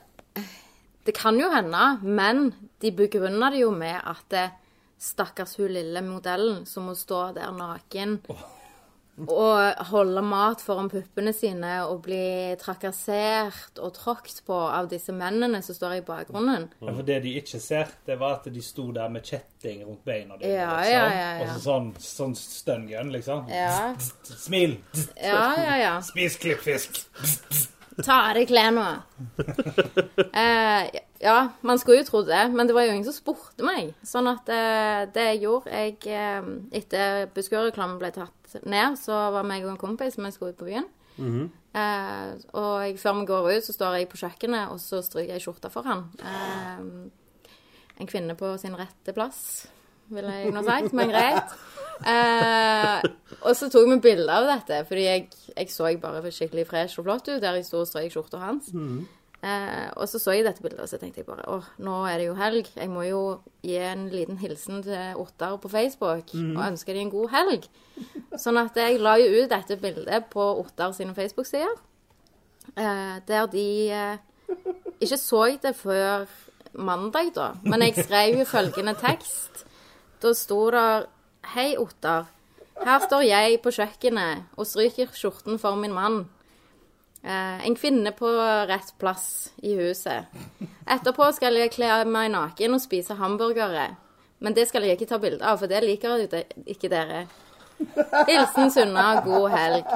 Det kan jo hende, men de begrunner det jo med at det, stakkars hun lille modellen som må stå der naken og holde mat foran puppene sine og bli trakassert og tråkt på av disse mennene som står i bakgrunnen. Ja, For det de ikke ser, det var at de sto der med kjetting rundt beina dine. Ja, liksom. ja, ja, ja. Og så sånn, sånn stun gun, liksom. Ja, Smil! ja, ja. ja. Spis klippfisk! Ta av deg klærne. Eh, ja, man skulle jo trodd det, men det var jo ingen som spurte meg. Sånn at eh, det jeg gjorde jeg, eh, Etter Buskerud-reklamen ble tatt ned, så var meg og en kompis vi skulle ut på byen. eh, og jeg, før vi går ut, så står jeg på kjøkkenet, og så stryker jeg skjorta foran. Eh, en kvinne på sin rette plass, ville jeg nå sagt, men greit. Eh, og så tok vi bilde av dette, fordi jeg, jeg så jeg bare skikkelig fresh og flott ut der jeg sto og strøk skjorta hans. Eh, og så så jeg dette bildet, og så tenkte jeg bare åh, nå er det jo helg. Jeg må jo gi en liten hilsen til Ottar på Facebook og ønske de en god helg. Sånn at jeg la jo ut dette bildet på Ottar sine Facebook-sider, eh, der de eh, ikke så jeg det før mandag, da. Men jeg skrev jo følgende tekst. Da sto det Hei, Ottar. Her står jeg på kjøkkenet og stryker skjorten for min mann. Eh, en kvinne på rett plass i huset. Etterpå skal jeg kle meg naken og spise hamburgere. Men det skal jeg ikke ta bilde av, for det liker jo de- ikke dere. Hilsen Sunna, god helg.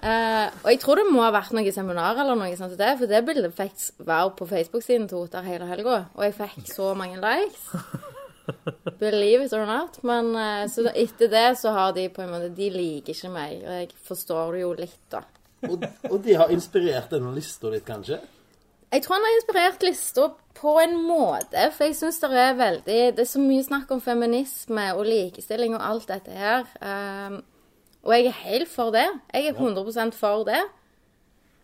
Eh, og jeg tror det må ha vært noe seminar eller noe sånt, som det, for det bildet fikk være på Facebook-siden til Otar hele helga. Og jeg fikk så mange likes. Believe it or not. Men eh, så da, etter det så har de på en måte De liker ikke meg. Og jeg forstår det jo litt, da. Og, og de har inspirert denne lista litt, kanskje? Jeg tror han har inspirert lista på en måte, for jeg syns det er veldig Det er så mye snakk om feminisme og likestilling og alt dette her. ehm, og jeg er helt for det. Jeg er 100 for det.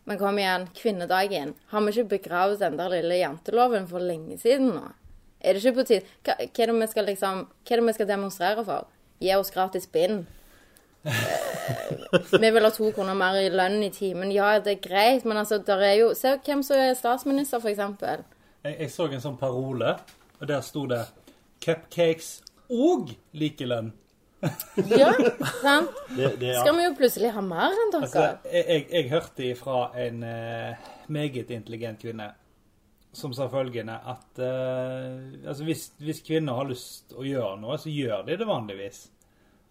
Men kom igjen, kvinnedagen. Har vi ikke begravd den der lille janteloven for lenge siden nå? Er det ikke på tide hva, hva er det vi skal liksom Hva er det vi skal demonstrere for? Gi oss gratis bind. Vi vil ha to kroner mer i lønn i timen. Ja, det er greit, men altså, der er jo Se hvem som er statsminister, for eksempel. Jeg, jeg så en sånn parole, og der sto det 'Cupcakes OG likelønn'. Ja, sant? Det, det, ja. Skal vi jo plutselig ha mer enn dere? Altså, jeg, jeg, jeg hørte ifra en eh, meget intelligent kvinne som sa følgende at eh, altså hvis, hvis kvinner har lyst å gjøre noe, så gjør de det vanligvis.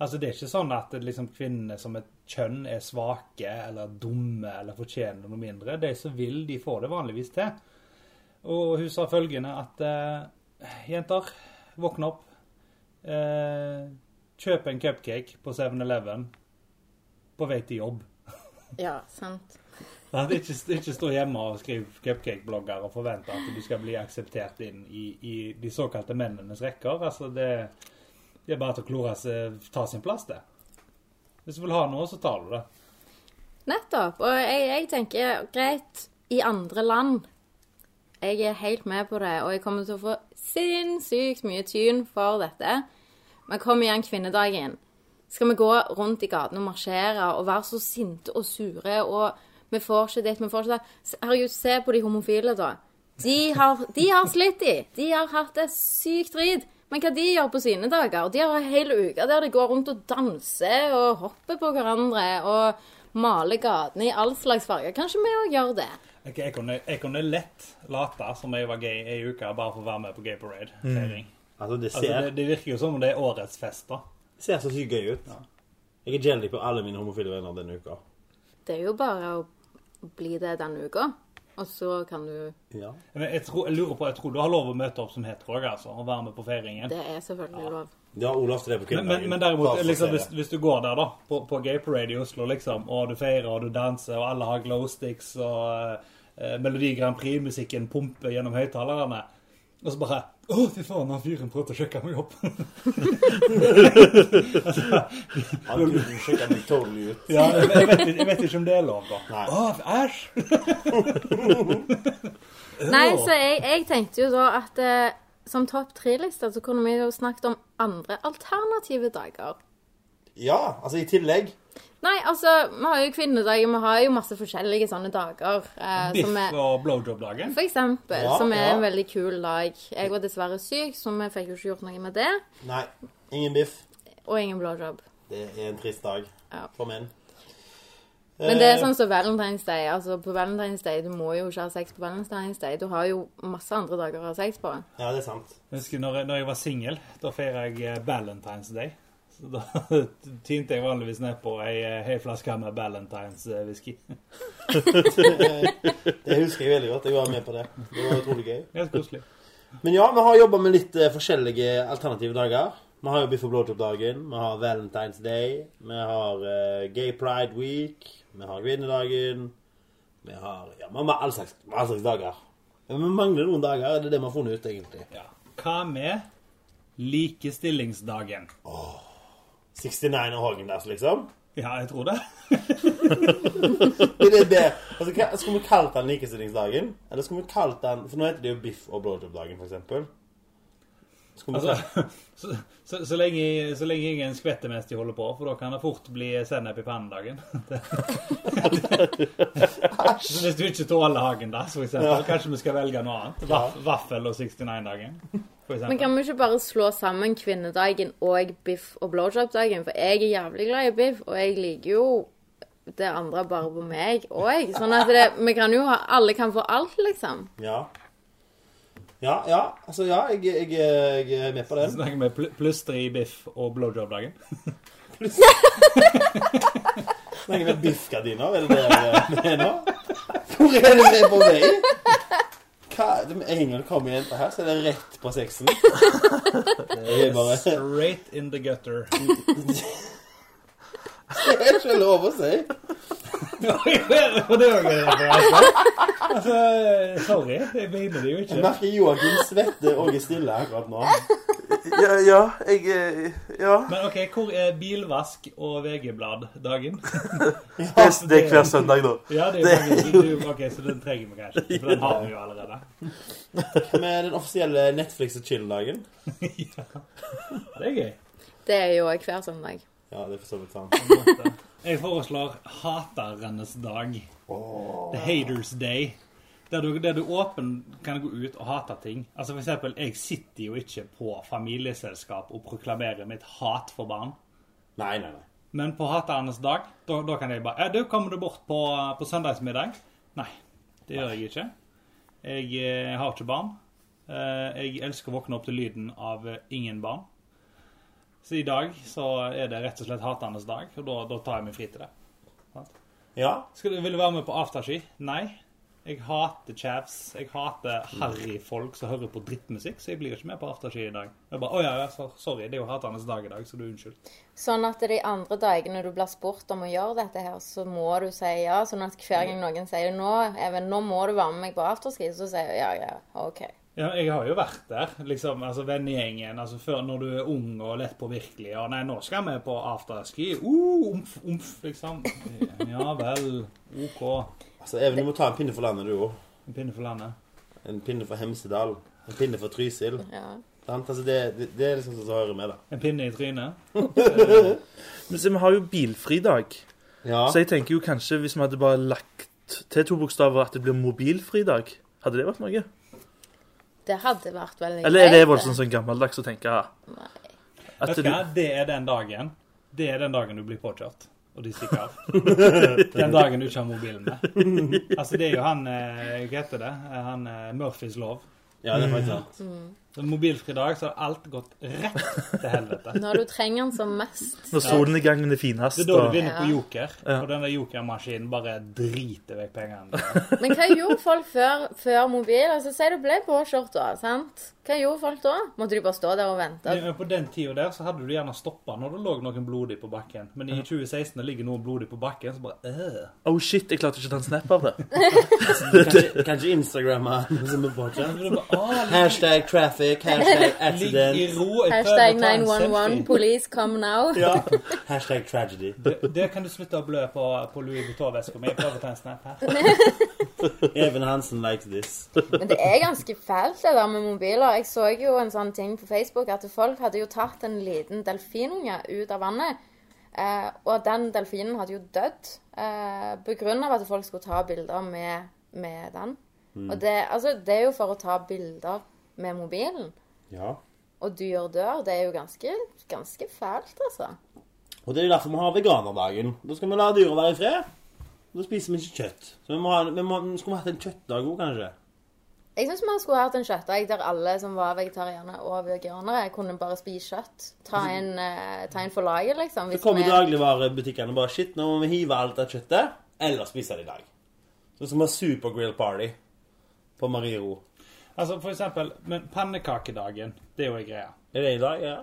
Altså Det er ikke sånn at eh, liksom, kvinnene som et kjønn er svake eller dumme eller fortjener noe mindre. De som vil, de får det vanligvis til. Og hun sa følgende at eh, Jenter, våkne opp. Eh, kjøp en cupcake på 7-Eleven på vei til jobb. Ja, sant. At Ikke, ikke stå hjemme og skrive cupcake-blogger og forvente at du skal bli akseptert inn i, i de såkalte mennenes rekker. Altså, det, det er bare til å klore seg, ta sin plass, det. Hvis du vil ha noe, så tar du det. Nettopp. Og jeg, jeg tenker greit i andre land. Jeg er helt med på det, og jeg kommer til å få sinnssykt mye tyn for dette. Men kom igjen, kvinnedagen. Skal vi gå rundt i gatene og marsjere og være så sinte og sure og vi får ikke ditt, vi får ikke det. Se- Herregud, se på de homofile, da. De har, de har slitt, de. De har hatt det sykt drit. Men hva de gjør på sine dager? De har en hel uke der de går rundt og danser og hopper på hverandre og maler gatene i all slags farger. Kanskje vi òg gjør det? Ok, jeg, kunne, jeg kunne lett late som jeg var gay ei uke, bare for å være med på gay parade-feiring. Altså, det Altså, det, ser, det virker jo som om det er årets fest, da. ser så sykt gøy ut. Jeg er jelly på alle mine homofile venner denne uka. Det er jo bare å bli det denne uka. Og så kan du Ja. Men jeg, tror, jeg lurer på, jeg tror du har lov å møte opp som hetero òg, altså. Og være med på feiringen. Det er selvfølgelig lov. Det har Olaf til det på Men, men, kvinnedagen. men Bare for derimot, å liksom, se hvis, det. hvis du går der da, på, på Gay Parade i Oslo, liksom, og du feirer og du danser, og alle har glowsticks, og eh, Melodi Grand Prix-musikken pumper gjennom høyttalerne, og så bare Å, fy faen, han fyren prøvde å sjekke meg opp. Han kunne sjekke meg totally ut. [LAUGHS] ja, jeg, jeg, vet, ikke- jeg vet ikke om det er lov, da. Nei. Å, æsj! Nei, så jeg, jeg tenkte jo da at eh, som topp tre-liste så kunne vi jo snakket om andre alternative dager. Ja, altså i tillegg. Nei, altså, vi har jo kvinnedager, vi har jo masse forskjellige sånne dager. eh, som Biff er, og blowjob-dagen. for eksempel, Ja, som er ja. en veldig kul dag. Jeg var dessverre syk, så vi fikk jo ikke gjort noe med det. Nei, ingen biff. Og ingen blowjob. Det er en trist dag Ja. for menn. Men det er Eh, sånn som Valentine's Day. Altså, på Valentine's Day, Du må jo ikke ha sex på Valentine's Day. Du har jo masse andre dager å ha sex på. Eh, Ja, det er sant. Jeg husker når, jeg- når jeg var singel. Da feirer jeg eh, Valentine's Day. Så da [LAUGHS] tynte jeg vanligvis ned på ei eh, hel flaske med eh, Valentine's-whisky. Det husker jeg veldig godt. Jeg var med på det. Det var utrolig gøy. [LAUGHS] Helt koselig. Men ja, vi har jobba med litt eh, forskjellige alternative dager. Vi har jo Biff og blowjob-dagen, vi har Valentine's Day, vi har eh, Gay Pride Week, vi har kvinnedagen Vi har ja, vi har all slags, all slags dager. Men vi mangler noen dager. Det er det vi har funnet ut, egentlig. Ja. Hva med likestillingsdagen? 69 og Hagendass, liksom. Ja, jeg tror det. Det er det. Altså, hva, skulle vi kalt den likestillingsdagen? Eller skulle vi kalt den For nå heter det jo Biff og blowjob-dagen, for eksempel. Skulle vi Altså, så, så, så, lenge, så lenge ingen skvetter mens de holder på, for da kan det fort bli sennep i pannedagen. Så [LAUGHS] hvis du ikke tåler Hagendass, for eksempel, kanskje vi skal velge noe annet? Vaff- Vaffel og 69-dagen, for Men eksempel. kan vi ikke bare slå sammen kvinnedagen og biff- og blowjob-dagen? For jeg er jævlig glad i biff, og jeg liker jo det andre bare på meg òg. Sånn at det, vi kan jo ha Alle kan få alt, liksom. Ja. Ja, ja. Altså, ja, jeg, jeg, jeg er med på den. Snakker vi pl plystre i biff og blowjob-dagen? Snakker vi biffgardiner? Er det det vi mener? Hvor er det vi er på vei? Hva, de, en gang det kommer jenter her, så er det rett på [LAUGHS] sexen. Det er bare Det Straight in the gutter. [LAUGHS] er ikke lov å si. Og det er jo en referanse. Altså, sorry, jeg mener det jo Jeg ikke. merker Joakim svetter og er stille akkurat nå. Ja, ja, jeg eh, [LAUGHS] Ja. Men OK, hvor er bilvask og VG-blad-dagen? Det, er- det er hver søndag, da. Ja, det er jo faktisk, det er jo- ok, så den trenger vi kanskje ikke, for den har vi jo allerede. Med den offisielle Netflix og chill-dagen. Det er gøy. Det er jo òg hver søndag. Ja, det er for så vidt sant. Jeg foreslår haternes dag. The Haters Day. Der du, der du åpen kan gå ut og hate ting. Altså for eksempel, jeg sitter jo ikke på familieselskap og proklamerer mitt hat for barn. Nei, nei, nei. Men på haternes dag, da, da kan jeg bare «Ja, Du, kommer du bort på, på søndagsmiddag? Nei, det gjør jeg ikke. Jeg, eh, har ikke barn. Eh, Jeg elsker å våkne opp til lyden av eh, ingen barn. Så i dag så er det rett og slett haternes dag, og da, da tar jeg meg fri til det. Ja. Skal du, vil du være med på afterski? Nei. Jeg hater chavs. Jeg hater harryfolk som hører på drittmusikk, så jeg blir ikke med på afterski i dag. Jeg bare, å ja, ja, så- sorry, det er jo haternes dag i dag, så du er unnskyld. Sånn at de andre dagene du blir spurt om å gjøre dette her, så må du si ja. Sånn at hver gang noen sier nå, Even, nå må du være med meg på afterski, så sier jeg ja, ja, OK. Ja, jeg har jo vært der, liksom, altså vennegjengen, altså før når du er ung og lett påvirkelig, og nei, nå skal vi på afterski, uh, umf, umf, liksom. Ja vel, ok, Altså, Even, du må ta en pinne for landet, du òg. en pinne for landet. En pinne for Hemsedal. En pinne for Trysil. Ja. Sant? Altså, det, det, det er liksom sånn som hører med, da. En pinne i trynet. Men se, vi har jo bilfri dag. Ja. Så jeg tenker jo kanskje hvis vi hadde bare lagt til to bokstaver at det blir mobilfri dag, hadde det vært noe? Det hadde vært veldig greit. Eller er det det. voldsomt sånn gammeldags å tenke? ja, Nei. At Vet du, du hva, det er den dagen, det er den dagen du blir påkjørt, og de stikker [LAUGHS] av. Den dagen du ikke har mobilen med. Altså, det er jo han, eh, hva heter det, Eh, han eh, Murphys lov. ja, det er faktisk sant. Så mobilfri dag, så har alt gått rett til helvete. Når du trenger den som mest. når solnedgangen er finest Det er da du og vinner på Ja. joker, og denne jokermaskinen bare driter vekk [LAUGHS] pengene. Men hva gjorde folk før, før mobil? Altså, Si du ble påkjørt da, sant? Hva gjorde folk da? Måtte de bare stå der og vente? Men På den tida der så hadde du gjerne stoppa når det lå noen blodig på bakken. Men i 2016 det ligger noen blodig på bakken, så bare øh. Oh shit, jeg klarte ikke å ta en snap [LAUGHS] av det. Kanskje, kanskje Instagramma som er Så bortskjemt. du bare, «Å, Hashtag traffic, hashtag Ligg i accident. ro. jeg prøver å ta Hashtag en 911, selfie.» police come now. Ja. Hashtag tragedy. Det, det kan du slutte å blø på, på Louis Vuitton-veska mi. Jeg prøver å ta en snap her. Even Hansen likes this. Men det er ganske fælt, det der med mobiler. Jeg så jo en sånn ting på Facebook at folk hadde jo tatt en liten delfinunge ut av vannet. Eh, og den delfinen hadde jo dødd eh, pga. at folk skulle ta bilder med, med den. Mm. Og det, altså, det er jo for å ta bilder med mobilen. Ja. Og dyr dør. Det er jo ganske, ganske fælt, altså. Og det er derfor vi har veganerdagen. Da skal vi la dyra være i fred. Da spiser vi ikke kjøtt. Så vi, må ha, vi, må, vi skulle hatt en kjøttdag òg, kanskje. Jeg syns man skulle hatt en kjøttdag der alle som var vegetarianere og veganere, kunne bare spise kjøtt. Ta Mm. en, eh, ta en for laget, liksom. Så hvis kommer vi- dagligvarebutikkene og bare Shit, nå må vi hive alt av kjøttet. Eller spise det i dag. Sånn som en supergrill party på Mariero. Altså, for eksempel, men pannekakedagen, det er jo en greie. Er det i dag? Ja.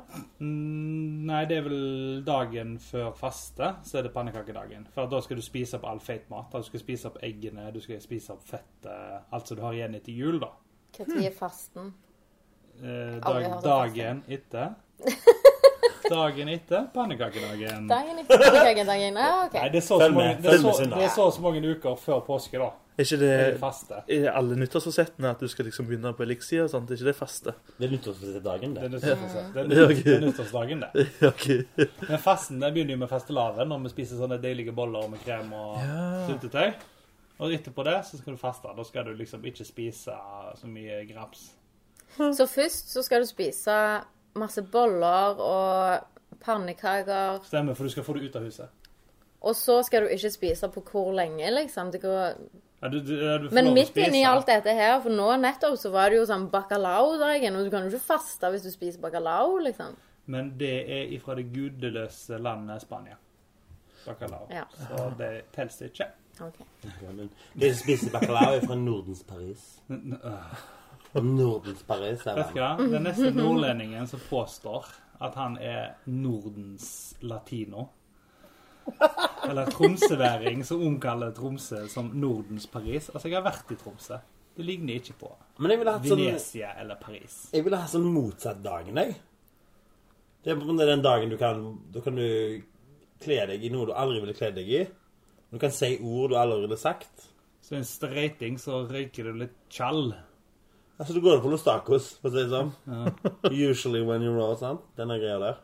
Mm, Nei, det er vel dagen før faste, så er det pannekakedagen. For da skal du spise opp all feit mat. Altså, Du skal spise opp eggene, du skal spise opp fettet. Alt som du har igjen etter jul, da. Når er fasten? Eh, Aldri dag, hørt om dagen [LAUGHS] etter. Dagen etter pannekakedagen. Dagen etter dagen, dagen. Ja, Nei, ok. det er så og Følg så mange, med, det er følg med, så, Sunna. det er så og så mange uker før påske, da. Er ikke Det er det faste. i alle nyttårsforsettene at du skal liksom begynne på eliksir og sånt? Er ikke det faste? Det er nyttårsdagen, Det det. er Mm. nyttårsdagen, det. er Ja, ok. nytt- Det er nyttårsdagen, det. Ok. Men fasten den begynner jo med fastelavn, når vi spiser sånne deilige boller med krem og syltetøy. Og etterpå det så skal du faste. Da skal du liksom ikke spise så mye graps. Så først så skal du spise masse boller og pannekaker, Stemmer, for du skal få det ut av huset. og så skal du ikke spise på hvor lenge, liksom. Det går... Ja, du, du, ja, du får Men lov å midt spise. inni alt dette her, for nå nettopp så var det jo sånn bacalao-dagen, og du kan jo ikke faste hvis du spiser bacalao, liksom. Men det er ifra det gudeløse landet Spania. Bacalao. Ja. Så det telles ikke. Ok. Ja, men De som spiser bacalao, er fra Nordens Paris. N- øh. Nordens Paris, er Vet du det. hva? Den neste nordlendingen som påstår at han er Nordens latino. Eller tromsøværing som omkaller Tromsø som Nordens Paris. Altså, jeg har vært i Tromsø. Det ligner ikke på Men jeg ville hatt sånn Venezia eller Paris. Jeg ville ha sånn motsatt dagen, jeg. Det er på grunn av den dagen du kan Da kan du kle deg i noe du aldri ville kle deg i. Du kan si ord du aldri ville sagt. Så en streiting, så røyker du litt tjall. Altså, du går [LAUGHS] på Los Tacos, for å si det sånn. Usually when you roll, sant? Denne greia der.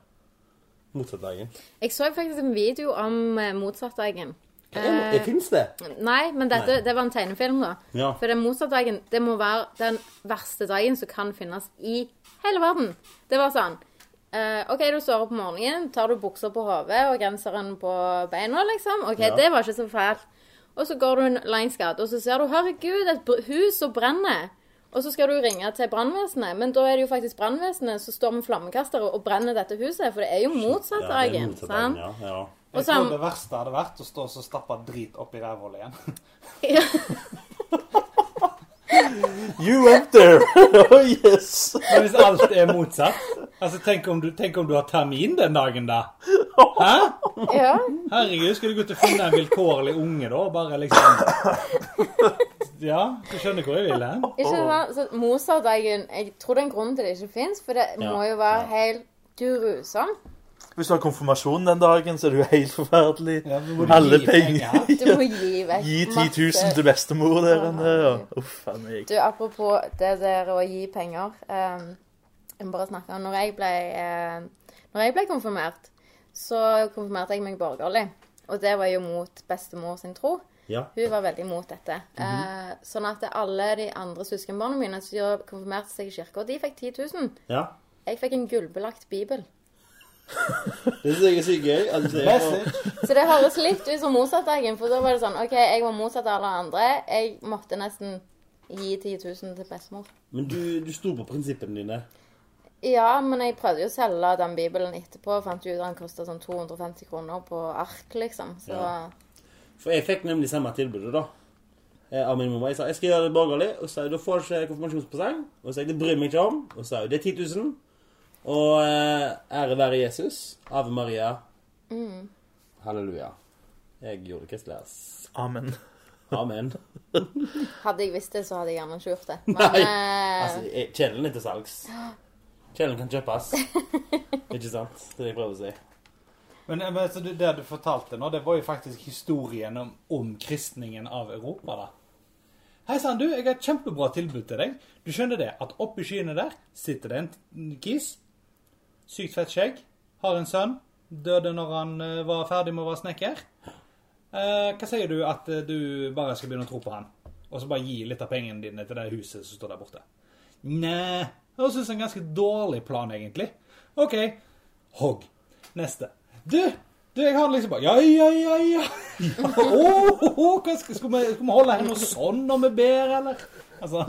Motsatt dagen. Jeg så faktisk en video om eh, motsattdagen. Det fins, det. Nei, men dette, Nei. det var en tegnefilm, da. Ja. For den motsattdagen, det må være den verste dagen som kan finnes i hele verden. Det var sånn eh, OK, du står opp om morgenen, tar du buksa på hodet og genseren på beina, liksom. OK, Ja. det var ikke så fælt. Og så går du en langs gata, og så ser du Herregud, et br- hus som brenner. Og så skal du ringe til brannvesenet, men da er det jo faktisk brannvesenet som står med flammekastere og brenner dette huset, for det er jo Ja, motsatt det er dagen. motsatt dagen, sant? ja, ja. Og Jeg så- tror det verste hadde vært å stå og så stappe drit oppi rævhullet igjen. You went [LAUGHS] there! oh, yes! [LAUGHS] Men hvis alt er motsatt Altså, tenk om, du, tenk om du har termin den dagen, [LAUGHS] da. Hæ? [LAUGHS] Ja. Herregud, skulle du gå til å finne en vilkårlig unge, da? og Bare liksom Ja, du skjønner hvor jeg vil hen? Ikke sant? Så Mozart-dagen Jeg tror det er en grunn til det ikke fins, for det må jo være helt grusomt. Hvis du har konfirmasjon den dagen, så er det jo helt forferdelig. Ja, men må du Alle gi penger. Du [LAUGHS] må gi vekk Gi 10 masse- 000 til bestemor der inne. og- Uff a meg. Du, apropos det der å gi penger ehm, Jeg må bare snakke om Når jeg ble, eh, når jeg ble konfirmert, så konfirmerte jeg meg borgerlig. Og det var jo mot bestemor sin tro. Ja. Hun var veldig mot dette. Mhm. eh, sånn at alle de andre søskenbarna mine som konfirmerte seg i kirka, de fikk 10 000. ja. Jeg fikk en gullbelagt bibel. Det syns jeg er sykt gøy. at du sier- Message. Så det høres litt ut som motsattdagen, for da var det sånn OK, jeg var motsatt av alle andre. Jeg måtte nesten gi 10 000 til bestemor. Men du, du sto på prinsippene dine. Ja, men jeg prøvde jo å selge den bibelen etterpå. og Fant jo ut at den kosta sånn 250 kroner på ark, liksom. Så Ja. For jeg fikk nemlig samme tilbudet, da. Eh, Av min mamma. Jeg sa jeg skal gjøre det borgerlig. Og så sa hun da får jeg ikke konfirmasjonspresang. Og så sa jeg det bryr jeg meg ikke om. Og så sa hun det er 10 000. Og eh, ære være Jesus. Ave Maria. Halleluja. Jeg gjorde det kristelig. ass. Amen. Amen. hadde jeg visst det, så hadde jeg gjerne ikke [LAUGHS] gjort det. Nei. Men eh, Altså, jeg- kjelen er til salgs. Kjelen kan kjøpes. ikke sant? Det er det jeg prøver å si. Men, eh, men så det, det du fortalte nå, det var jo faktisk historien om omkristningen av Europa, da. Hei sann, du, jeg har et kjempebra tilbud til deg. Du skjønner det, at oppi skyene der sitter det en t- kis. Sykt fett skjegg. Har en sønn. Døde når han eh, var ferdig med å være snekker. Eh, hva sier du at eh, du bare skal begynne å tro på han? Og så bare gi litt av pengene dine til det huset som står der borte? Nei, det synes jeg er en ganske dårlig plan, egentlig. OK, hogg. Neste. Du, du, jeg har liksom bare Ja, ja, ja, ja. ja åh, åh, hva skal, skal, vi, skal vi holde henne sånn når vi ber, eller? Altså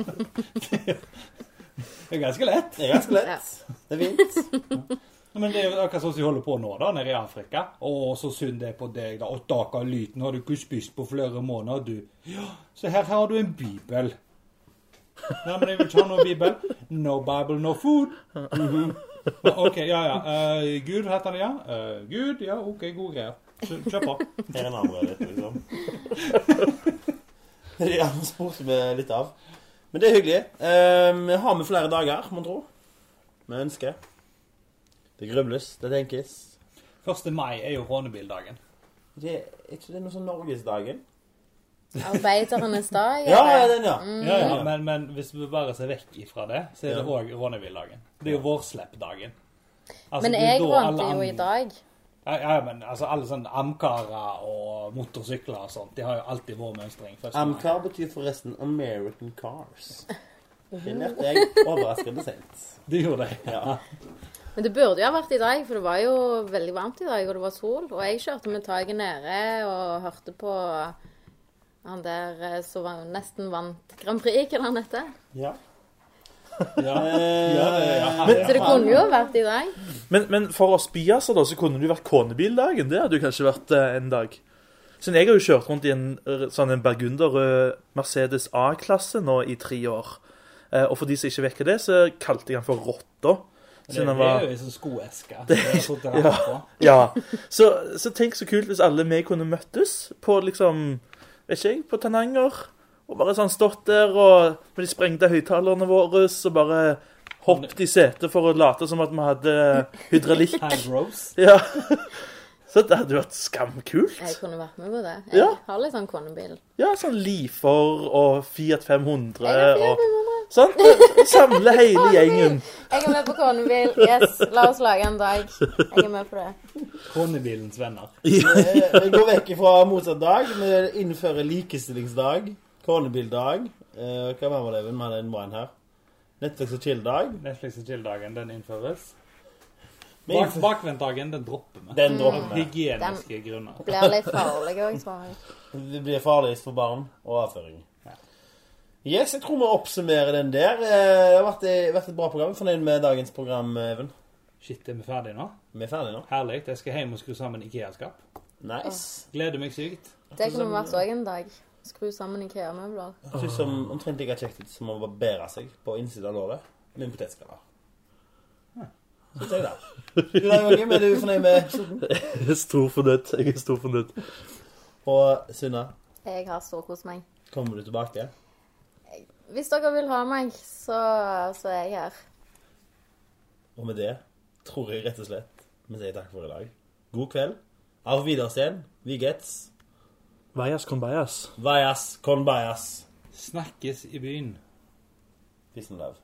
[LAUGHS] Det er ganske lett. Det er ganske lett. ja. Altså, Det er fint. Men det er jo akkurat sånn som de holder på nå, da, nede i Afrika. Å, så synd det er på deg, da. Og stakkar liten, har du ikke spist på flere måneder, du. Ja, så her har du en bibel. Nei, men jeg vil ikke ha noen bibel. No Bible, no food. Mhm. OK, ja, ja. Eh, Gud heter det, ja. Eh, Gud, ja, OK, god greier. Så Kjør på. Her er en annen rødhet, [LAUGHS] liksom. Det er det andre spurte vi litt av. Men det er hyggelig. Ehm, Vi har med flere dager, må man tro. Vi ønsker. Det grøbles, det tenkes. 1. mai er jo rånebildagen. Det, er ikke det noe sånn Norgesdagen? arbeidernes dag Ja, ja, eller? den, ja. Ja, Mm. ja, men, men hvis vi bare ser vekk ifra det, så er det òg rånebilddagen. Det er jo vårsleppdagen. Altså, Men det er jeg da alle vant jo andre- i dag. Ja, ja, men altså, alle sånne amkarer og motorsykler og sånt, de har jo alltid vår mønstring. først. Amcar betyr forresten American Cars. Det lærte jeg overraskende sent. De gjorde det. Ja. Men det burde jo ha vært i dag, for det var jo veldig varmt i dag, og det var sol. Og jeg kjørte med taket nede og hørte på han der eh, som var- nesten vant Grand Prix, hva han heter. ja. Ja, ja, ja. Så det kunne jo vært i dag. Men, men for oss biaser da, så kunne det jo vært konebildagen. Det hadde jo kanskje vært eh, en dag. Siden jeg har jo kjørt rundt i en eh, sånn en burgunderrød Mercedes A-klasse nå i tre år. Eh, Og for de som ikke vet hva det, er, så kalte jeg han for Rotta. Det Siden han er var jo en sånn skoeske. Det er sånt der ja. på. Ja. Så, så tenk så kult hvis alle vi kunne møttes på liksom Vet ikke jeg, på Tananger. Og bare sånn stått der og med de sprengte høyttalerne våre og bare hoppet i setet for å late som at vi hadde [LAUGHS] hydraulikk. Hand Rose. Ja. Så det hadde jo vært Jeg skamkult. kunne vært med på det. Jeg Ja. har litt sånn konebil. Ja, sånn Lifer og Fiat Jeg har 500 fire og hundre. Sant? Samle hele gjengen. Jeg er med på konebil. Yes, la oss lage en dag. Jeg er med på det. Kongebilens venner. Eh, Vi går vekk fra motsatt dag. Vi innfører likestillingsdag. Konebildag. Eh, Hva mer var det? Vi hadde en vann her. Netflix og chill-dag. Netflix og chill-dagen, den innføres. Vi Bak, innfører- bakvendtdagen, den dropper vi. Den dropper vi. Hygieniske grunner. Blir litt farlig òg, tror jeg. Det blir farligst for barn og avføring. Yes, jeg tror vi oppsummerer den der. Eh, Det har vært, det har vært et bra program. Jeg er Fornøyd med dagens program, Even? Shit, er vi ferdige nå? Vi er ferdige nå. Herlig. Jeg skal hjem og skru sammen Ikea-skap. Nice. Gleder meg sykt. Det kunne vært òg en dag. Skru sammen IKEA-møbler. Det ser ut som omtrent like kjekt ut som å barbere seg på innsiden av låret med en potetskaller. Syns jeg, da. Du, da, Joakim, er du fornøyd med slutten? Jeg er stor fornøyd. Jeg er stor fornøyd. Og Sunna, Jeg har storkost meg. kommer du tilbake? igjen? Hvis dere vil ha meg, så, så er jeg her. Og med det tror jeg rett og slett vi sier takk for i dag. God kveld. Auf Wiedersehen. Vi gets. Vajas con bajas. Vajas con bajas. Snakkes i byen. Peace and love.